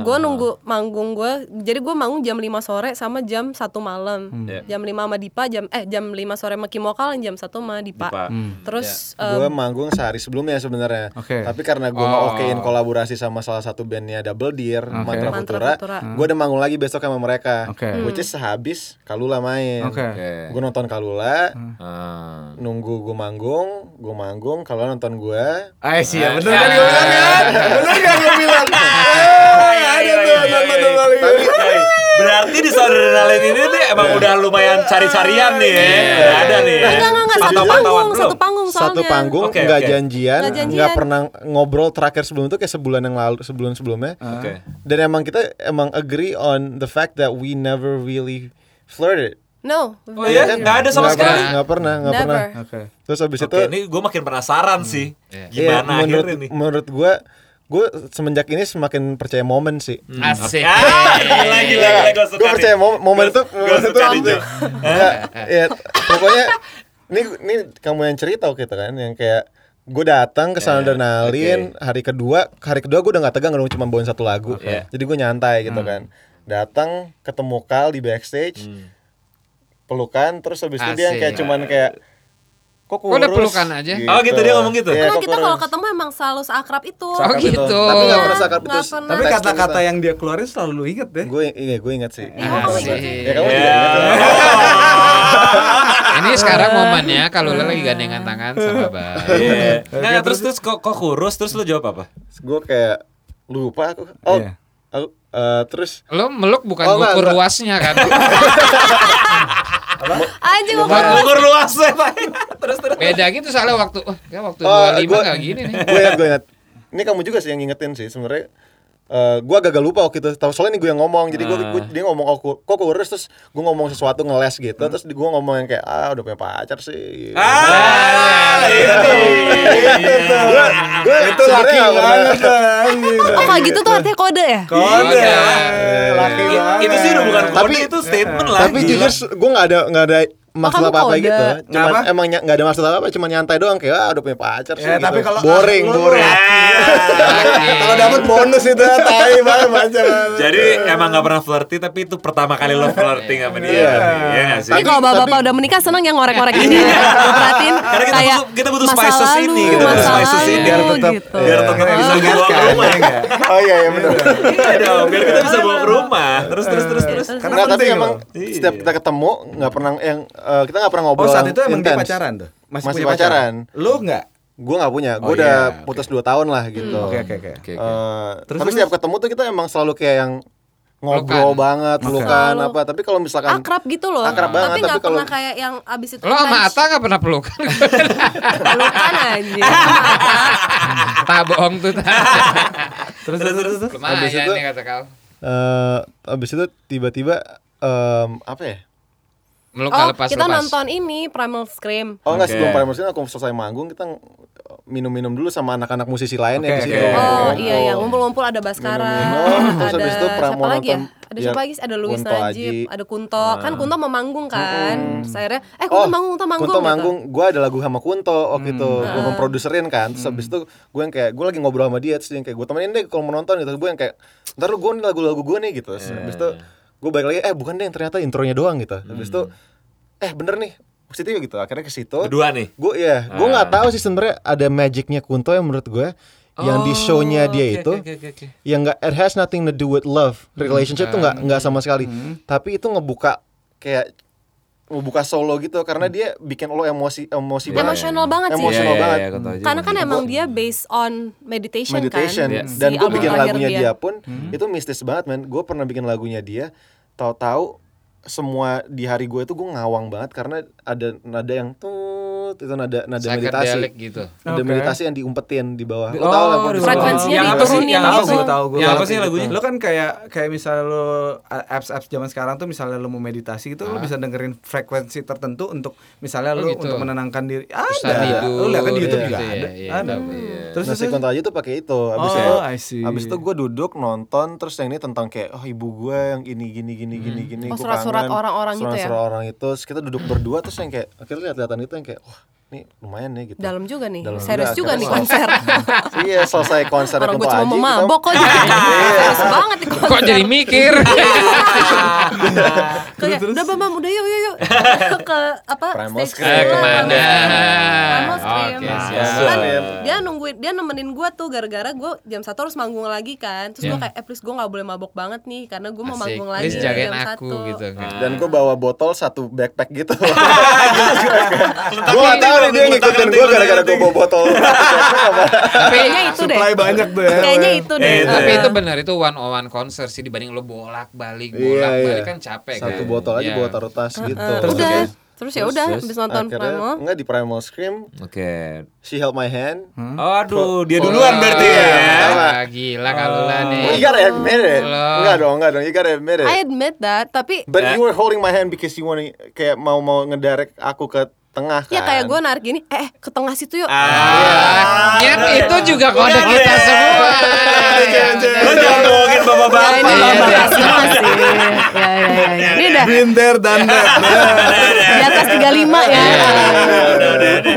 gue nunggu manggung gue jadi gue manggung jam 5 sore sama jam 1 malam
Iya.
jam 5 sama Dipa jam eh jam 5 sore sama Kimokal jam 1 sama Dipa,
Dipa. Hmm.
terus eh,
Gue manggung sehari sebelumnya sebenarnya.
Oke. Oh.
Tapi karena gue mau okein kolaborasi sama salah satu bandnya Double Deer, Mantra
Mantra
Futura,
Futura.
gue udah manggung lagi besok sama mereka.
Hmm. Oke.
Which is sehabis Kalula main.
Oke. Hmm.
Gue nonton Kalula,
Ah.
nunggu gue manggung, gue manggung, Kalula nonton gue.
Ah, sih ya, bener kan gue bilang kan? Bener kan gue bilang?
Iya,
Eh, ada tuh teman-teman Bali.
Berarti di Soundrenalin ini nih emang udah lumayan cari-carian nih ya. Udah ada nih. ya.
enggak enggak enggak satu
Pantau-pantauan
panggung
belum?
satu panggung soalnya
Satu panggung,
Oke,
nggak
oke.
janjian,
Nggak janjian.
nggak pernah ngobrol terakhir sebelum itu kayak sebulan yang lalu, sebelum sebelumnya.
Ah. Oke.
Dan emang kita emang agree on the fact that we never really flirted.
no
Oh iya, nggak ada sama
Nggak
sekali.
pernah, nggak pernah, nggak
Never.
pernah.
Oke.
Terus abis
Oke,
itu,
ini gue makin penasaran sih.
ya,
Gimana
menurut
akhirnya nih?
menurut gue, gue semenjak ini semakin percaya momen sih.
Asik. Oh,
Ah, gila gila gila gue suka.
Gue Iya, percaya
nih.
momen, momen itu,
Gua
momen itu
suka nih, Jo.
Nggak, ya, pokoknya ini ini kamu yang cerita gitu kan, yang kayak gue datang ke
Iya,
sana hari kedua, hari kedua gue udah nggak tegang dong cuma bawain satu lagu,
Oke. Hmm.
jadi gue nyantai gitu kan. Datang ketemu Kal di backstage,
Hmm.
pelukan, terus habis itu dia yang kayak
Asik.
cuman kayak kok
Kok udah
kurus?"
pelukan aja?
Oh, gitu, dia ngomong gitu?
Iya, kok
karena Kan kita kalau
kurus?
ketemu emang selalu seakrab itu
Oh gitu.
Tapi nggak
Iya,
pernah sakap itu.
nggak pernah.
Tapi kata-kata yang dia keluarin selalu lu ya. inget deh.
gue iya gue ingat sih.
Iya, kamu ingat
sih.
Ya kamu
Iya.
juga ingat. kan?
Ini sekarang momennya kalau lo lagi gandengan tangan sama Bang.
Iya. Nah, terus terus kok kok kurus terus lu jawab apa?
Gue kayak lupa aku. Oh,
Iya.
aku, eh, terus
Lo meluk bukan
Oh, nggak,
ngukur
nggak.
luasnya
<laughs>
kan?
aja
Bukan ukur luas ya, Pak. Terus terus.
Beda gitu soalnya waktu oh, ya waktu
Oh,
25
gua-
nggak gini
<laughs>
nih.
gue ingat gue ingat ini kamu juga sih yang ngingetin sih sebenarnya Eh gue agak-agak lupa waktu itu tahu soalnya ini gue yang ngomong jadi gue gue- dia ngomong aku kok kurus terus gue ngomong sesuatu ngeles gitu terus gue ngomong yang kayak ah udah punya pacar sih Nah,
Ah, itu.
gue gue itu laki banget
oh kayak gitu tuh artinya kode ya
Kode.
Iya.
Laki banget.
Itu sih udah bukan kode,
Tapi-
itu statement lah.
tapi
gila.
jujur gue nggak ada nggak ada maksud
Oh, kamu
apa apa
kode.
gitu cuman
Ngapa?
emang ny- nggak ada maksud apa apa cuman nyantai doang kayak ah udah punya pacar sih
Ya, tapi
gitu.
kalau
boring
ah, lu- lu
boring
Ah.
Laki.
Kalau dapat bonus itu tai banget macam.
Jadi emang gak pernah flirty tapi itu pertama kali lo flirting sama dia. Iya nggak sih?
Tapi kalau bapak-bapak udah menikah seneng yang ngorek-ngorek ini. Perhatiin
Iya. Karena kita
kayak
butuh- kita butuh
masa
spices
lalu,
ini, kita butuh
masa
spices ini, biar
lalu
tetap-
gitu.
Biar tetap bisa gue bawa ke rumah.
Oh iya iya benar.
Iya dong, biar kita bisa
Iya.
bawa ke rumah. Terus terus terus terus.
Karena
Nggak, tapi
penting
emang
loh.
setiap kita ketemu nggak pernah yang eh, kita nggak pernah ngobrol.
Oh saat itu emang dia
intens.
pacaran tuh?
Masih pacaran.
Lu enggak?
Gue nggak punya.
Oh,
Gue udah
iya, oke. Hmm,
putus 2 tahun lah gitu.
Oke oke oke.
Oke, oke.
Eh,
Terus,
tapi
terus.
setiap ketemu tuh kita emang selalu kayak yang
Pelukan.
ngobrol banget, pelukan
Selalu.
apa. Tapi kalau
kan.
misalkan
Akrab gitu loh.
Akrab banget,
tapi
tapi
nggak
kalau-
pernah kayak yang abis itu
Lo sama
lunch,
Ata gak pernah <laughs> pelukan?
pelukan
<laughs>
anjir.
tak bohong
<laughs>
tuh. Ta.
Terus terus terus. terus.
Lumayan
itu-
nih kata kau.
eh abis itu tiba-tiba em, apa ya?
Meluk
Oh,
lepas
kita
lepas.
nonton ini Primal Scream.
Oh enggak
Oke.
sebelum Primus aku selesai manggung kita ng- minum-minum dulu sama anak-anak musisi lain ya
Oke,
di situ.
oke.
Oh
Ngobrol.
iya iya ngumpul-ngumpul ada Baskara,
Minum-minum, Oh, terus
ada
habis itu pra-
siapa
mau
lagi ya?
nonton
Ada siapa
biar
lagi? Ada Luis
Kunto
Najib,
Aji. Ah.
ada Kunto. Kan Kunto mau manggung kan? Terus akhirnya eh Kunto
Oh,
manggung, Kunto
Kunto
manggung. gitu. Hmm. Ah.
manggung, gue ada lagu sama Kunto waktu itu, gue memproduserin kan. Terus habis itu gue yang kayak gue lagi ngobrol sama dia, terus dia yang kayak gue temenin deh kalau mau nonton gitu. Gue yang kayak ntar gue nih lagu-lagu gue nih gitu. Terus habis itu gue balik lagi, eh bukan deh ternyata intronya doang gitu. Habis itu eh bener nih positif gitu. Akhirnya ke situ.
Berdua nih.
Gue ya, gue nggak tahu sih sebenarnya ada magicnya Kunto yang menurut gue yang di show-nya dia itu yang nggak it has nothing to do with love relationship tuh nggak nggak sama sekali tapi itu ngebuka kayak ngebuka solo gitu karena dia bikin lo emosi emosi banget
Emosional banget sih.
Emosional banget.
Karena kan emang dia based on meditation,
Iya, meditation
kan.
dan
Si
gue
album
bikin
terakhir
lagunya dia, pun itu mistis banget men gue pernah bikin lagunya dia tahu-tahu semua di hari gue itu gue ngawang banget karena ada nada yang tuh itu nada nada meditasi
Psychedelic gitu.
ada
Oke.
meditasi yang diumpetin di bawah lo
Oh,
tau lah
di
kondisi
bawah.
lo.
Frekuensinya
Yang apa sih?
diturunin
Yang apa
gitu.
sih?
Gue tahu, gue
Yang
tahu.
apa sih lagunya?
Lo kan kayak kayak misal lo apps-apps zaman sekarang tuh misalnya lo mau meditasi itu
Ah.
lo bisa dengerin frekuensi tertentu untuk misalnya
Oh,
lo
gitu.
untuk menenangkan diri.
Susah
Ada. Lo lihat kan di
tidur,
YouTube
iya,
juga
iya,
ada.
iya,
Ada.
tahu, iya.
Terus
nah,
terus
si Kunto Aji tuh pakai itu. Abis
Oh,
itu,
I see.
abis itu gue duduk nonton terus yang ini tentang kayak oh ibu gue yang ini gini gini gini gini.
Oh,
gua
surat-surat
kangen.
orang-orang gitu ya?
Surat-surat orang itu. Terus kita duduk berdua terus yang kayak akhirnya lihat-lihatan itu yang kayak wah ini lumayan nih gitu.
Dalam juga nih.
Dalam
Serius juga
akhirnya
nih
<laughs>
konser.
selesai- iya selesai konser
Orang gue
Kunto
cuma
Aji. gitu. Iya.
mau
kita-
mabok kok jadi serius banget nih konser.
Kok jadi mikir?
Iya, Kayak, udah Bam, Bam, udah yuk yuk
<laughs>
yuk ke apa
Primal
stage
Scream.
sebelah.
Eh, kemana?
Primal Scream.
Oke,
Nah,
siap.
kan
Siap.
dia nungguin dia nemenin gue tuh gara-gara gue jam satu harus manggung lagi kan terus gue kayak eh please gue nggak boleh mabok banget nih karena gue mau
Iya. Asik.
manggung lagi
Please
jam
jagain aku
satu
gitu. kan.
Dan gue bawa botol satu backpack gitu. gue gak tau nih dia ngikutin gue gara-gara gue bawa botol.
kayaknya itu deh
supply banyak tuh ya.
kayaknya itu deh
Eh,
Iya, Tapi
Nah,
itu benar itu one on one konser sih dibanding lo bolak-balik,
Iya,
bolak-balik
iya.
kan capek kan.
Satu botol aja
Iya.
bawa taruh tas gitu.
eh, udah
Oke.
terus Iya. ya udah habis nonton
Akhirnya,
Primal
Enggak di Primal Scream
Oke.
She Held My Hand.
Hmm. Aduh, dia duluan berarti ya.
Iya,
Wah, Ah, Gila kalau lah nih.
Well, Oh, you gotta admit it.
Alah.
Enggak dong, enggak dong. You gotta admit it.
I admit that tapi
But you were holding my hand because you wanna kayak mau mau ngedirect aku ke tengah kan.
ya kayak
Iya.
gue narik gini eh eh, ke tengah situ yuk
Ah, nyet, itu juga
Iya,
kode kita
Iya,
semua. Iya,
Lo jangan bohongin
Ya, ini
bapak-bapak.
lomba asma
<laughs>
sih ya ya ya, ya ini udah
Winter dan
di atas 35 ya
Udah, udah, udah. Oke,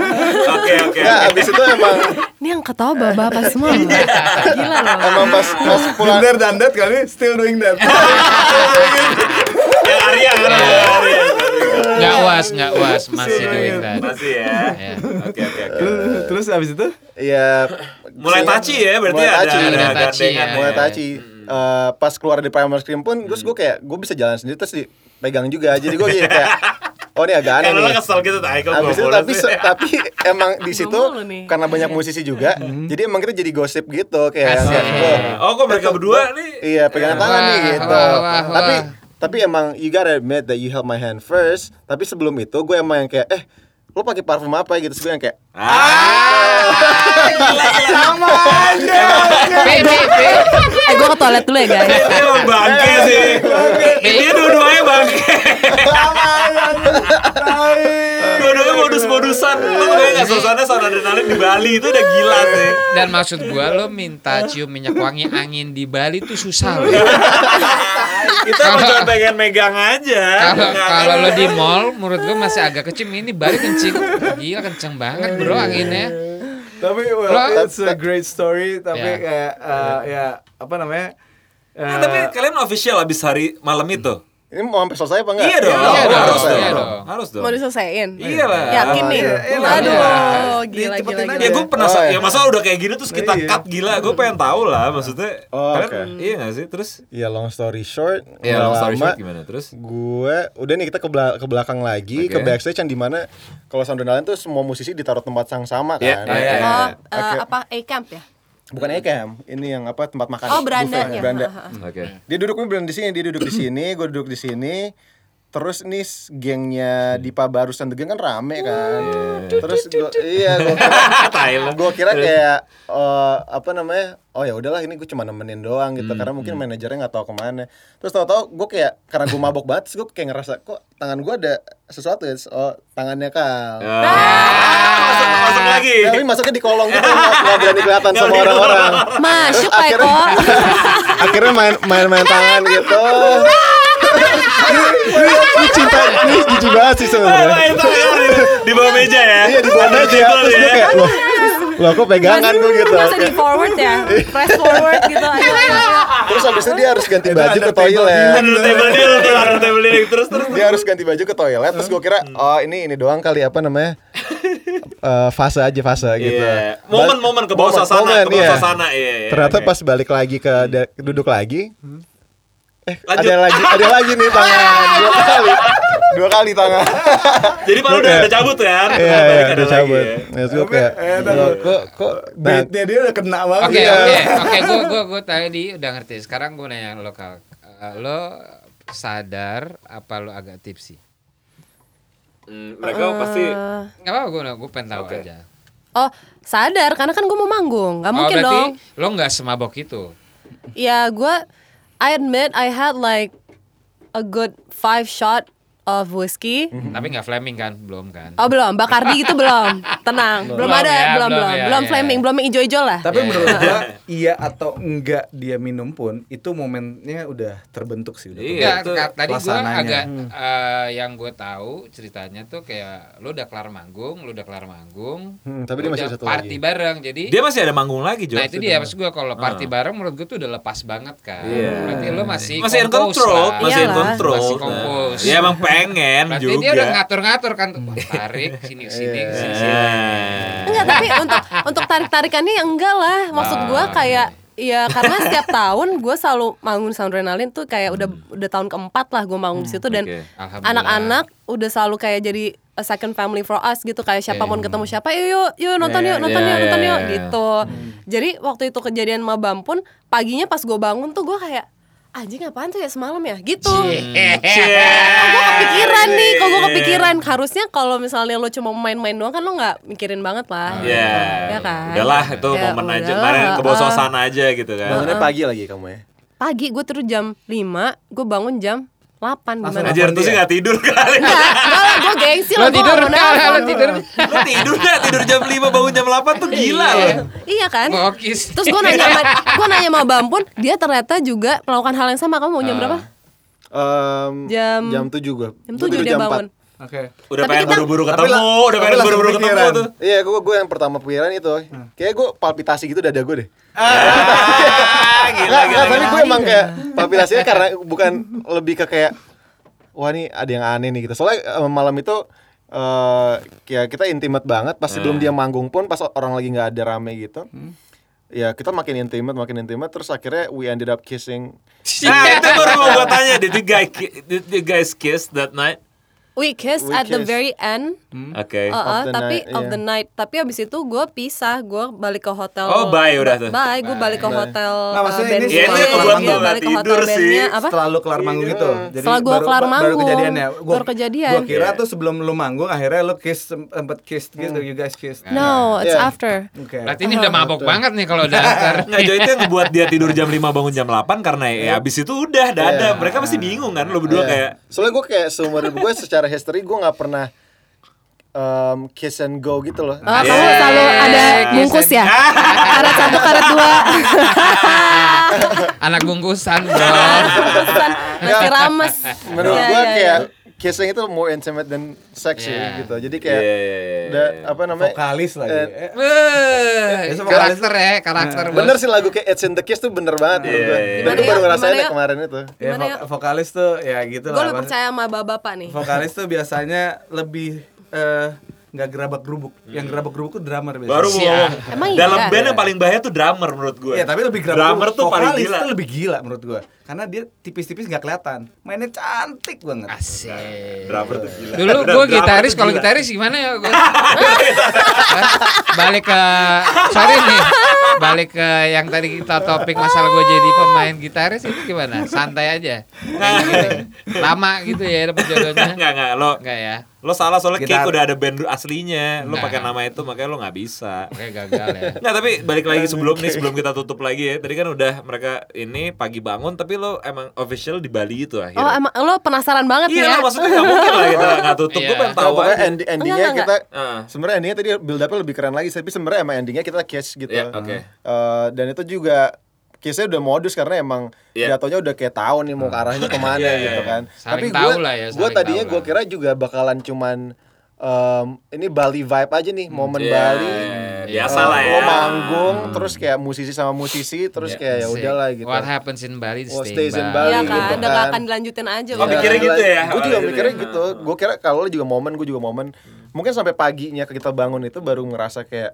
oke.
Iya. Enggak, abis itu emang
Ini yang ketawa bapak-bapak semua loh. Gila loh
emang pas pas pulang
Winter dan that kali still doing that.
Iya.
Yang Arya kan ada Arya.
Nggak
Iya.
was, nggak was, masih doing that.
Masih ya.
Iya.
Oke, oke, oke.
Terus- Terus abis itu
ya
Mulai touchy ya, berarti
mulai
ada-
touchy.
ada
Mulai
touchy
gandengan
ya.
ya.
mulai touchy. Eh, pas keluar dari Primal Scream pun
Hmm.
terus gue kayak gue bisa jalan sendiri terus dipegang juga. Jadi gue
<laughs>
kayak oh ini agak aneh
Kalau lo
nih.
kesel gitu, tai kok
Abis itu
bolos
tapi
sih.
se- tapi emang di situ
mulu nih. Iya.
karena banyak musisi juga, jadi emang kita jadi gosip gitu kayak
Hmm. Asik.
kayak, "Wah,
Oh, kok mereka berdua nih?
Iya pegangan
Wah,
tangan nih gitu.
wah, wah,
tapi
wah.
tapi emang you gotta admit that you held my hand first. Tapi sebelum itu gue emang yang kayak eh lo pakai parfum apa ya gitu? Terus gue
<laughs>
yang kayak
Ah,
Pi, pi, pi,
Eh gue ke toilet dulu ya guys
Dia emang iya, bangke
Iya,
sih. Dia dua-duanya bangke. Dua-duanya modus-modusan.
Iya,
Lo kayak nggak suasana sound adrenalin di Bali itu udah gila sih.
Dan maksud gua lo minta cium minyak wangi angin di Bali tuh susah lo.
<laughs> Kita emang cuma pengen megang aja. Nah, kan?
Kalau
Nggak-
kalau lo di
Iya.
mall, menurut gua masih agak kecil. Ini Bali kencing, gila kenceng banget bro anginnya.
tapi
Oh,
well,
Lah.
it's a great story tapi
Ya.
kayak eh, ya apa namanya eh,
Nah, tapi kalian official abis hari malam itu.
Ini mau sampai selesai apa enggak?
Iya
Iya
dong.
dong,
Harus dong.
iya dong.
Harus dong.
Mau diselesaiin?
Iya lah.
Yakin nih?
Iya, iya lah.
Aduh,
Iya.
gila, gila,
Dicepetin
gila.
aja.
Ya gue penasaran.
Oh, iya.
Ya masa udah kayak gini terus kita
Iya.
cut gila. Gue pengen tahu lah maksudnya.
Oh,
kalian-
oke.
Iya gak sih? Terus
Iya long story short,
Ya,
nggak
long story
lama,
short gimana? Terus?
Gue udah nih kita ke, bela- ke belakang lagi
Oke.
ke backstage yang dimana kalau sound dan lain tuh semua musisi ditaruh tempat yang sama
Iya,
kan.
iya, iya.
Oh, eh,
Oke.
apa A-Camp ya?
Bukan Ekem, ini yang apa tempat makan.
Oh,
buffet,
berandanya.
beranda.
Ha, ha, ha.
Oke.
Dia duduk gue bilang di sini, dia duduk di sini, gue duduk di sini. Terus nih s- gengnya Dipa barusan The Gang kan rame kan. Terus gua, iya gue
Thailand.
gue kira kayak eh, apa namanya oh ya udahlah ini gue cuma nemenin doang gitu karena mungkin manajernya nggak tahu kemana terus tahu-tahu gue kayak karena gue mabok banget gue kayak ngerasa kok tangan gue ada sesuatu ya oh tangannya kal
Ah, masuk, masuk lagi.
<laughs> tapi masuknya di kolong gitu nggak nggak berani kelihatan sama orang-orang
Masuk Pak Eko.
Akhirnya- akhirnya main main main tangan <laughs> gitu ini, ini, ini cinta ini jijik banget sih sebenarnya
Main tangan di- di bawah meja ya.
iya di bawah aja terus gue kayak loh loh kok pegangan gue gitu
Masa
Oke.
di forward ya? Press forward gitu. ayo, ayo, ayo.
<laughs> Terus habis itu dia harus ganti baju ke toilet.
Under table deal, under table deal. Terus terus.
Dia harus ganti baju ke toilet. Terus gue kira, oh ini ini doang kali apa <laughs> namanya? Eh, fase aja fase gitu.
Iya. Momen-momen ke bawah
Momen-
suasana,
momen,
ke bawah
iya.
suasana, iya, iya,
Ternyata
oke.
pas balik lagi ke da- duduk lagi. Eh,
Lanjut.
ada lagi, ada lagi nih tangan. <laughs> Dua kali. Dua kali tangan.
Jadi Pak lu udah udah cabut ya.
Iya,
Balik
iya,
ada
udah
lagi
cabut.
ya.
Terus gue kayak,
eh, tahu.
loh, kok kok nah,
baitnya dia udah kena banget
Oke
Iya.
ya.
oke oke gue gue gue tadi udah ngerti. Sekarang gue nanya lo Kal. Eh, lo sadar apa lo agak tipsi?
Hmm, Mereka pasti
Eh.
Gak apa-apa gue gue pengen tahu
Oke.
aja.
Oh, sadar karena kan gue mau manggung. Gak
Oh,
mungkin
berarti
dong.
Lo nggak semabok itu.
Ya, gue I admit I had like a good five shot of whiskey.
<laughs> Tapi nggak flaming kan? Belum kan?
Oh belum, Bakardi gitu belum. Tenang, belum,
Belum ya,
ada, belum
belum
belum,
ya,
belum
ya.
flaming, belum yang ijo-ijo lah.
tapi menurut gua iya atau enggak dia minum pun itu momennya udah terbentuk sih udah
Iya.
Nggak,
itu
ka- tadi gue
suasananya.
agak
Hmm.
eh, yang gue tahu ceritanya tuh kayak lo udah kelar manggung, lo udah kelar manggung,
Hmm,
lo
tapi dia masih
udah
satu
party
lagi.
bareng. Jadi
dia masih ada manggung lagi, Jo.
nah itu dia maksud gue
Ah.
kalau party bareng menurut gue tuh udah lepas banget kan.
Iya.
Berarti lo masih
masih in
compose
control,
lah.
masih in
Iyalah.
control.
Masih
Nah,
compose.
Dia emang pengen
Berarti
juga.
dia udah ngatur-ngatur kan Wah,
Iya.
tarik sini sini
Eh.
sini. sini.
Enggak, tapi untuk untuk tarik-tarikannya ya enggak lah. Maksud gua kayak Ya karena setiap tahun gue selalu manggung Soundrenalin tuh kayak udah udah tahun keempat lah gue manggung di situ dan
oke.
Alhamdulillah.
anak-anak udah selalu kayak jadi a second family for us gitu kayak siapapun ketemu siapa yuk yuk yuk nonton
Ya,
yuk
ya,
nonton yuk
ya,
nonton yuk
ya, ya.
gitu jadi waktu itu kejadian mabam pun paginya pas gue bangun tuh gue kayak anjing apaan tuh ya semalam ya gitu
Iya.
Iya.
Eh.
Kok gue kepikiran nih kok gue kepikiran harusnya kalau misalnya lo cuma main-main doang kan lo nggak mikirin banget lah
Ya,
Ya kan?
udahlah itu
Ya,
momen aja,
udahlah,
kemarin ke bawah
ah.
suasana aja gitu kan.
Bangunnya pagi lagi kamu ya.
pagi gue tidur jam 5 gue bangun jam 8
Langsung aja.
gimana
Anjir, tuh sih nggak tidur kali.
Iya. Enggak, gue gengsi lah
Lo
gue
tidur kan? Lo tidur.
Lu tidur nggak? Tidur jam 5 bangun jam 8 tuh gila
Iya.
loh.
Iya kan?
Bokis.
Terus gue nanya sama gue nanya sama Bam pun, dia ternyata juga melakukan hal yang sama. Kamu
Ah.
mau jam berapa?
Em,
Jam-
jam 7 gue.
Jam 7 dia bangun.
oke
Udah
Tapi
pengen
kita-
buru-buru
Tapi
ketemu,
la-
udah
tapi
pengen
langsung
buru-buru ketemu
kepikiran.
tuh.
Iya, gue gue yang pertama pikiran itu. Kayak gue palpitasi gitu dada gue deh.
Ah, gila
Nggak,
gila.
nggak, tapi gue emang
Iya.
kayak palpitasinya karena bukan lebih ke kayak wah ini ada yang aneh nih gitu. Soalnya eh, malam itu eh ya kita intimate banget. Pas sebelum
Hmm.
dia manggung pun, pas orang lagi nggak ada rame gitu. Ya kita makin intimate, makin intimate. Terus akhirnya we ended up kissing.
Nah, itu baru mau gue tanya, did you guys did you guys kiss that night?
We kiss
We
at the
kiss.
very end,
Oke.
the
uh-uh, tapi
night,
of
iya.
the night. Tapi abis itu gue pisah, gue balik ke hotel.
Oh, bye udah tuh. Iya,
Bye, gue balik ke hotel.
Nah, maksudnya
uh, band
ini setelah
gue,
kelar
dia
manggung,
balik
nggak
ke hotel
tidur sih.
bandnya apa?
setelah lu
Iya,
kelar manggung itu jadi
Setelah gua
baru-
kelar
ba-
manggung.
baru kejadian ya gua,
Baru kejadian.
gua kira tuh sebelum lu manggung akhirnya lu kiss sem- sempet kiss gitu
Hmm.
you guys kiss oke
No, it's
Yeah.
after.
Berarti ini udah mabok banget nih kalau udah
<laughs>
antar.
Nggak, Jo, Nah, itu yang ngebuat dia tidur jam 5 bangun jam 8 karena ya abis itu udah dada. Mereka pasti bingung kan lu berdua
Iya.
kayak
Soalnya gue kayak seumur hidup gue secara history gue nggak pernah em, kiss and go gitu loh.
Nah,
Oh, kamu selalu ada bungkus ya? karet satu, karet
<laughs>
dua.
Anak bungkusan bro.
Iya.
Bungkusan, Masih rames.
Menurut
Iya,
gue
iya,
kayak kissing itu more intimate than sex sih
Yeah.
gitu. Jadi kayak
Yeah, yeah, yeah, yeah,
da-
yeah.
apa namanya?
vokalis lagi.
Eh,
Eh,
Iya,
Wah,
Besok
karakter ya, karakter.
Bener sih lagu kayak It's in the Kiss tuh bener banget menurut
Yeah,
gua.
yeah, yeah.
Gua tuh
Gimana
baru
ya?
ngerasain
Gimana
ya
ya?
kemarin itu.
ya,
Gimana
vo- vokalis tuh ya gitu
Gue
lah.
lebih
Mas.
percaya sama bapak-bapak nih.
Vokalis tuh biasanya lebih eh, nggak gerabak gerubuk. Yang gerabak gerubuk tuh drummer biasanya.
Hmm. Baru mau
Sia.
ngomong.
Emang iya?
Dalam band yang paling bahaya tuh drummer menurut gue.
Iya, tapi lebih gerabak
drummer tuh paling
Vokalis
gila.
tuh lebih gila menurut gua. Karena dia tipis-tipis nggak kelihatan. Mainnya cantik banget.
Ah,
Asik.
Drummer tuh gila.
Dulu
Udah,
gue
drummer
gitaris,
tuh
kalau
gila.
gitaris gimana ya gue? balik ke sorry nih, balik ke yang tadi kita topik masalah gue jadi pemain gitaris itu gimana? Santai aja, Kayak gini. lama gitu ya dapet jodohnya,
Enggak, enggak. Lo
enggak ya?
lo salah soalnya
Gitar.
Cake udah ada band aslinya. Lo
Nah.
pakai nama itu makanya lo nggak bisa.
Oke gagal ya.
Nggak, tapi balik lagi sebelum nih sebelum kita tutup lagi ya. Tadi kan udah mereka ini pagi bangun tapi lo emang official di Bali itu akhirnya.
Oh emang lo penasaran banget nih
Iya
ya?
lah, maksudnya nggak mungkin lah kita nggak tutup. Gue
Iya.
pengen
Nah,
tahu
pokoknya
aja.
end- endingnya
Enggak,
kita
Heeh.
sebenarnya endingnya tadi build up lebih keren lagi tapi sebenarnya emang endingnya kita kiss gitu.
Iya, oke.
Eh, dan itu juga kissnya udah modus karena emang
Iya.
jatuhnya udah kayak tahu nih mau ke
<laughs>
arahnya kemana
Iya, iya,
gitu
iya.
kan.
Saling
tapi gue
tahu lah ya,
gue
saling
tadinya
tahu
gue
lah.
kira juga bakalan cuman em, ini Bali vibe aja nih momen
Iya,
Bali.
biasa
Eh,
lah ya. Iya.
Lo manggung terus kayak musisi sama musisi terus kayak ya udahlah gitu.
What happens in Bali
What
stay
stays in
in Bali.
Bali.
Iya
gitu
kan,
kan.
udah gak akan dilanjutin aja.
Oh,
udah.
mikirnya gitu ya?
Gue Iya. juga
Awalnya
mikirnya
gitu ya.
gitu. Gue kira kalau lu juga momen, gue juga momen. Mungkin sampai paginya kita bangun itu baru ngerasa kayak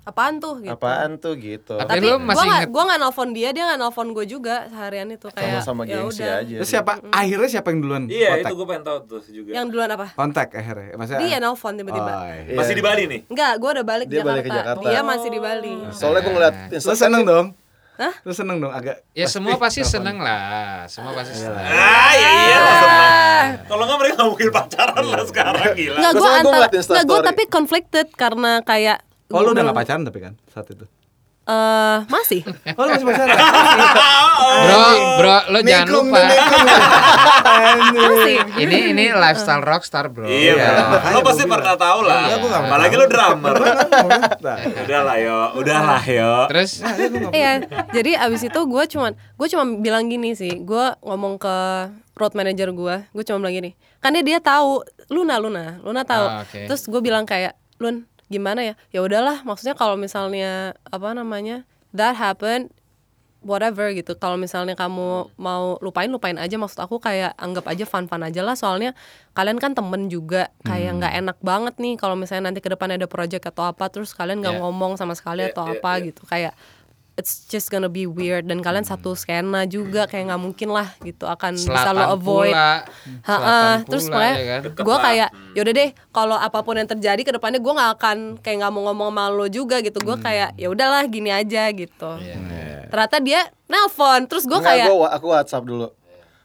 Apaan tuh? Gitu.
apaan tuh gitu.
Tapi
Tapi
lu
gua
masih
nggak-
inget-
gua nggak nelfon dia, dia nggak nelfon gue juga seharian itu kayak
Sama-sama
ya
gengsi
udah.
aja.
Terus siapa
Hmm.
akhirnya siapa yang duluan
Iya,
kontak?
itu gue pengen tahu tuh juga.
Yang duluan apa?
Kontak akhirnya. Maksudnya
Dia nelfon tiba-tiba.
Ah.
Oh, iya.
Masih di Bali nih.
Enggak, gue udah balik
Dia
Jakarta.
balik ke Jakarta.
Dia masih di Bali.
Oh.
gitu. Soalnya gue ngeliat
Lu
Instagram
seneng dong?
Hah?
Lu seneng dong agak
Ya semua pasti seneng lah, semua pasti seneng.
Ah, iya iya lah
Ah.
seneng. Kalau nggak mereka nggak mungkin pacaran lah sekarang gila.
Enggak,
Gua
gue
soalnya gua
antara
ngeliat Insta
Enggak, gue
story.
tapi conflicted karena kayak
Oh lu udah
gua belum-
gak pacaran tapi kan saat itu?
Eh,
<laughs>
masih.
Oh lu masih
<laughs>
pacaran?
Bro, bro, lo jangan lupa. Iya,
Masih.
Ini ini lifestyle rockstar bro.
Iya,
Iya.
lo pasti pernah tahu lah.
Enggak, gua nggak pernah
Apalagi lo drummer.
Nah,
Udahlah yo, udahlah yo.
Terus
Iya, jadi abis itu gue cuman gue cuma bilang gini sih, gue ngomong ke road manager gue, gue cuma bilang gini, karena dia tahu Luna Luna Luna tahu,
Ah, oke.
terus gue bilang kayak Lun gimana ya, ya udahlah maksudnya kalau misalnya apa namanya that happened whatever gitu kalau misalnya kamu mau lupain lupain aja maksud aku kayak anggap aja fun fun aja lah soalnya kalian kan temen juga kayak nggak
Hmm.
enak banget nih kalau misalnya nanti ke depan ada project atau apa terus kalian nggak
Yeah.
ngomong sama sekali atau apa gitu kayak it's just gonna be weird dan kalian satu skena juga kayak nggak mungkin lah gitu akan bisa lo
Hmm. selatan
avoid
pula,
Ha-ha,
selatan
terus
pula,
makanya
ya kan?
gue kayak
Hmm.
yaudah deh kalau apapun yang terjadi ke depannya gue nggak akan kayak nggak mau ngomong sama lo juga gitu
Hmm.
gue kayak ya udahlah gini aja gitu
Iya,
ternyata dia nelpon terus gue
Enggak,
kayak
gua wa- aku WhatsApp dulu.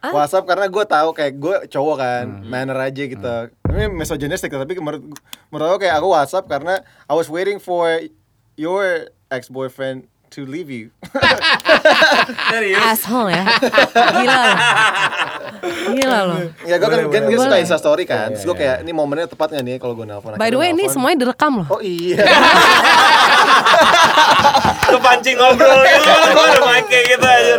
WhatsApp karena gue tahu kayak gue cowok kan, manner aja gitu. Ini misogynistic tapi menurut menurut aku kayak aku WhatsApp karena I was waiting for your ex boyfriend to leave you. <laughs>
Serius.
asshole ya gila lo. gila loh
ya gue kan,
Boleh,
kan
boleh,
gue suka
boleh.
Insta story kan. Terus gue kayak ini momennya tepatnya nih kalau gue nelpon.
by the
Akhirnya
way ini
nelpon.
semuanya direkam loh
Oh iya.
Kepancing ngobrol gitu. Gue udah mic kayak gitu aja.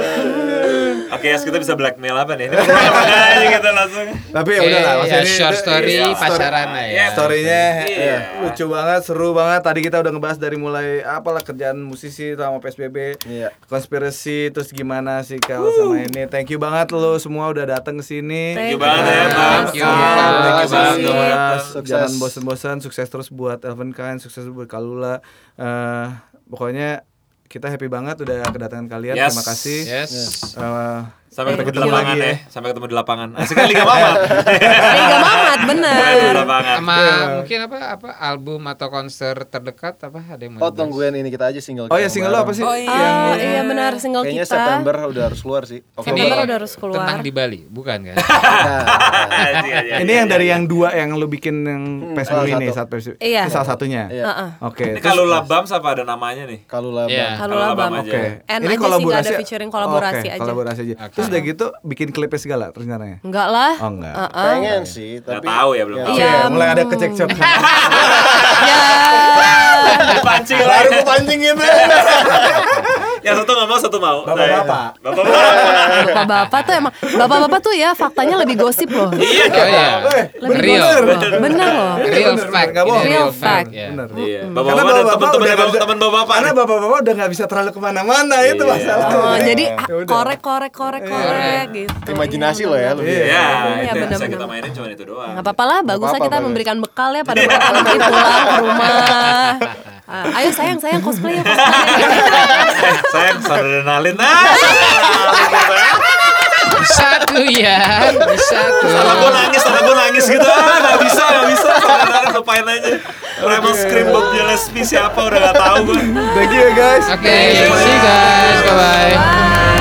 Oke, ya kita bisa blackmail apa nih? Ini aja kita langsung.
Tapi ya
Oke,
udah lah
ya,
maksudnya ini-
short story
iya,
pacaran lah ya.
Iya,
Storynya
Iya.
eh, lucu banget, seru banget. Tadi kita udah ngebahas dari mulai apalah kerjaan musisi sama PSBB,
Iya.
konspirasi, terus gimana sih kalau sama ini. Thank you banget lo semua udah datang ke sini.
Thank
Thank you banget ya,
Thank
Bang.
you. Thank you
banget.
Terima
Bang.
Mas,
Sukses.
Jangan bosen-bosen, sukses terus buat Elven Kain, sukses buat Kalula. Eh, pokoknya kita happy banget udah kedatangan kalian.
Yes.
Terima kasih.
Yes.
Eh,
Sampai ketemu di
Ketemu
lapangan
lagi
ya.
ya.
Sampai ketemu di lapangan. Asik kan Liga Mamat.
Liga Mamat bener
Di lapangan.
Sama mungkin apa apa album atau konser terdekat apa ada yang mau
Oh tungguin ini kita aja
oh
single. kita
ya single lo apa sih?
Oh, iya benar single
Kayaknya
kita
September udah harus keluar sih.
Ini- September udah harus keluar.
Tentang di Bali, bukan kan?
nah,
iya.
Ini yang dari yang dua yang lu bikin yang PSBB
salah
ini
satu.
saat PSBB.
Iya.
Itu salah satunya.
Iya.
Heeh.
Oke.
Ini kan kalau labam siapa ada namanya nih?
Eh, Kalau lah.
Iya.
Bang.
Kalau
Kalau
Labam.
Labam aja.
Oke.
N
Ini
aja sih,
kolaborasi. ya?
nggak ada featuring kolaborasi
Oke,
aja.
Kolaborasi aja. Terus udah gitu bikin klipnya segala terus rencananya.
enggak lah
Oh, enggak.
Heeh.
Pengen sih
Gak
tapi.
tahu ya belum.
Iya.
tahu.
Oke,
Iya,
mulai ada kecekcok.
ya
Pancing
<laughs>
Baru gue pancing gitu.
Yang satu nggak mau, satu mau.
Bapak-bapak.
Nah, Bapak-bapak.
Bapak-bapak tuh emang Bapak-bapak tuh ya faktanya lebih gosip
Oh
loh
iya.
Lebih
Real.
gosip loh Bener loh
Real
Bener,
fact.
nggak
ini
bohong.
Real fact.
ya.
Bener.
Iya.
Karena
Bapak-bapak dan teman-teman
udah
dan
nggak-
teman bapak.
Karena bapak-bapak udah nggak bisa terlalu kemana-mana itu
Iya.
masalahnya.
Oh, jadi
Ya udah.
korek korek korek korek gitu.
Imajinasi lo ya, lu.
Iya.
Iya,
Iya,
itu yang bisa
benar-benar.
kita mainin cuma itu doang. <laughs>
Gak apa-apa lah, baguslah
apa-apa,
kita
bagus.
memberikan bekal ya pada mereka kalau balik pulang ke rumah. Ah, ayo sayang sayang cosplay ya cosplay.
Saya adrenalin. Ah,
Satu ya, satu.
salah gue nangis, salah gue nangis gitu. Ah, gak bisa, gak bisa. Adrenalin lupain aja. Kalau emang scream Bob Gillespie siapa udah gak tahu gue.
Thank you guys.
Oke, see you guys. Bye bye.
Bye.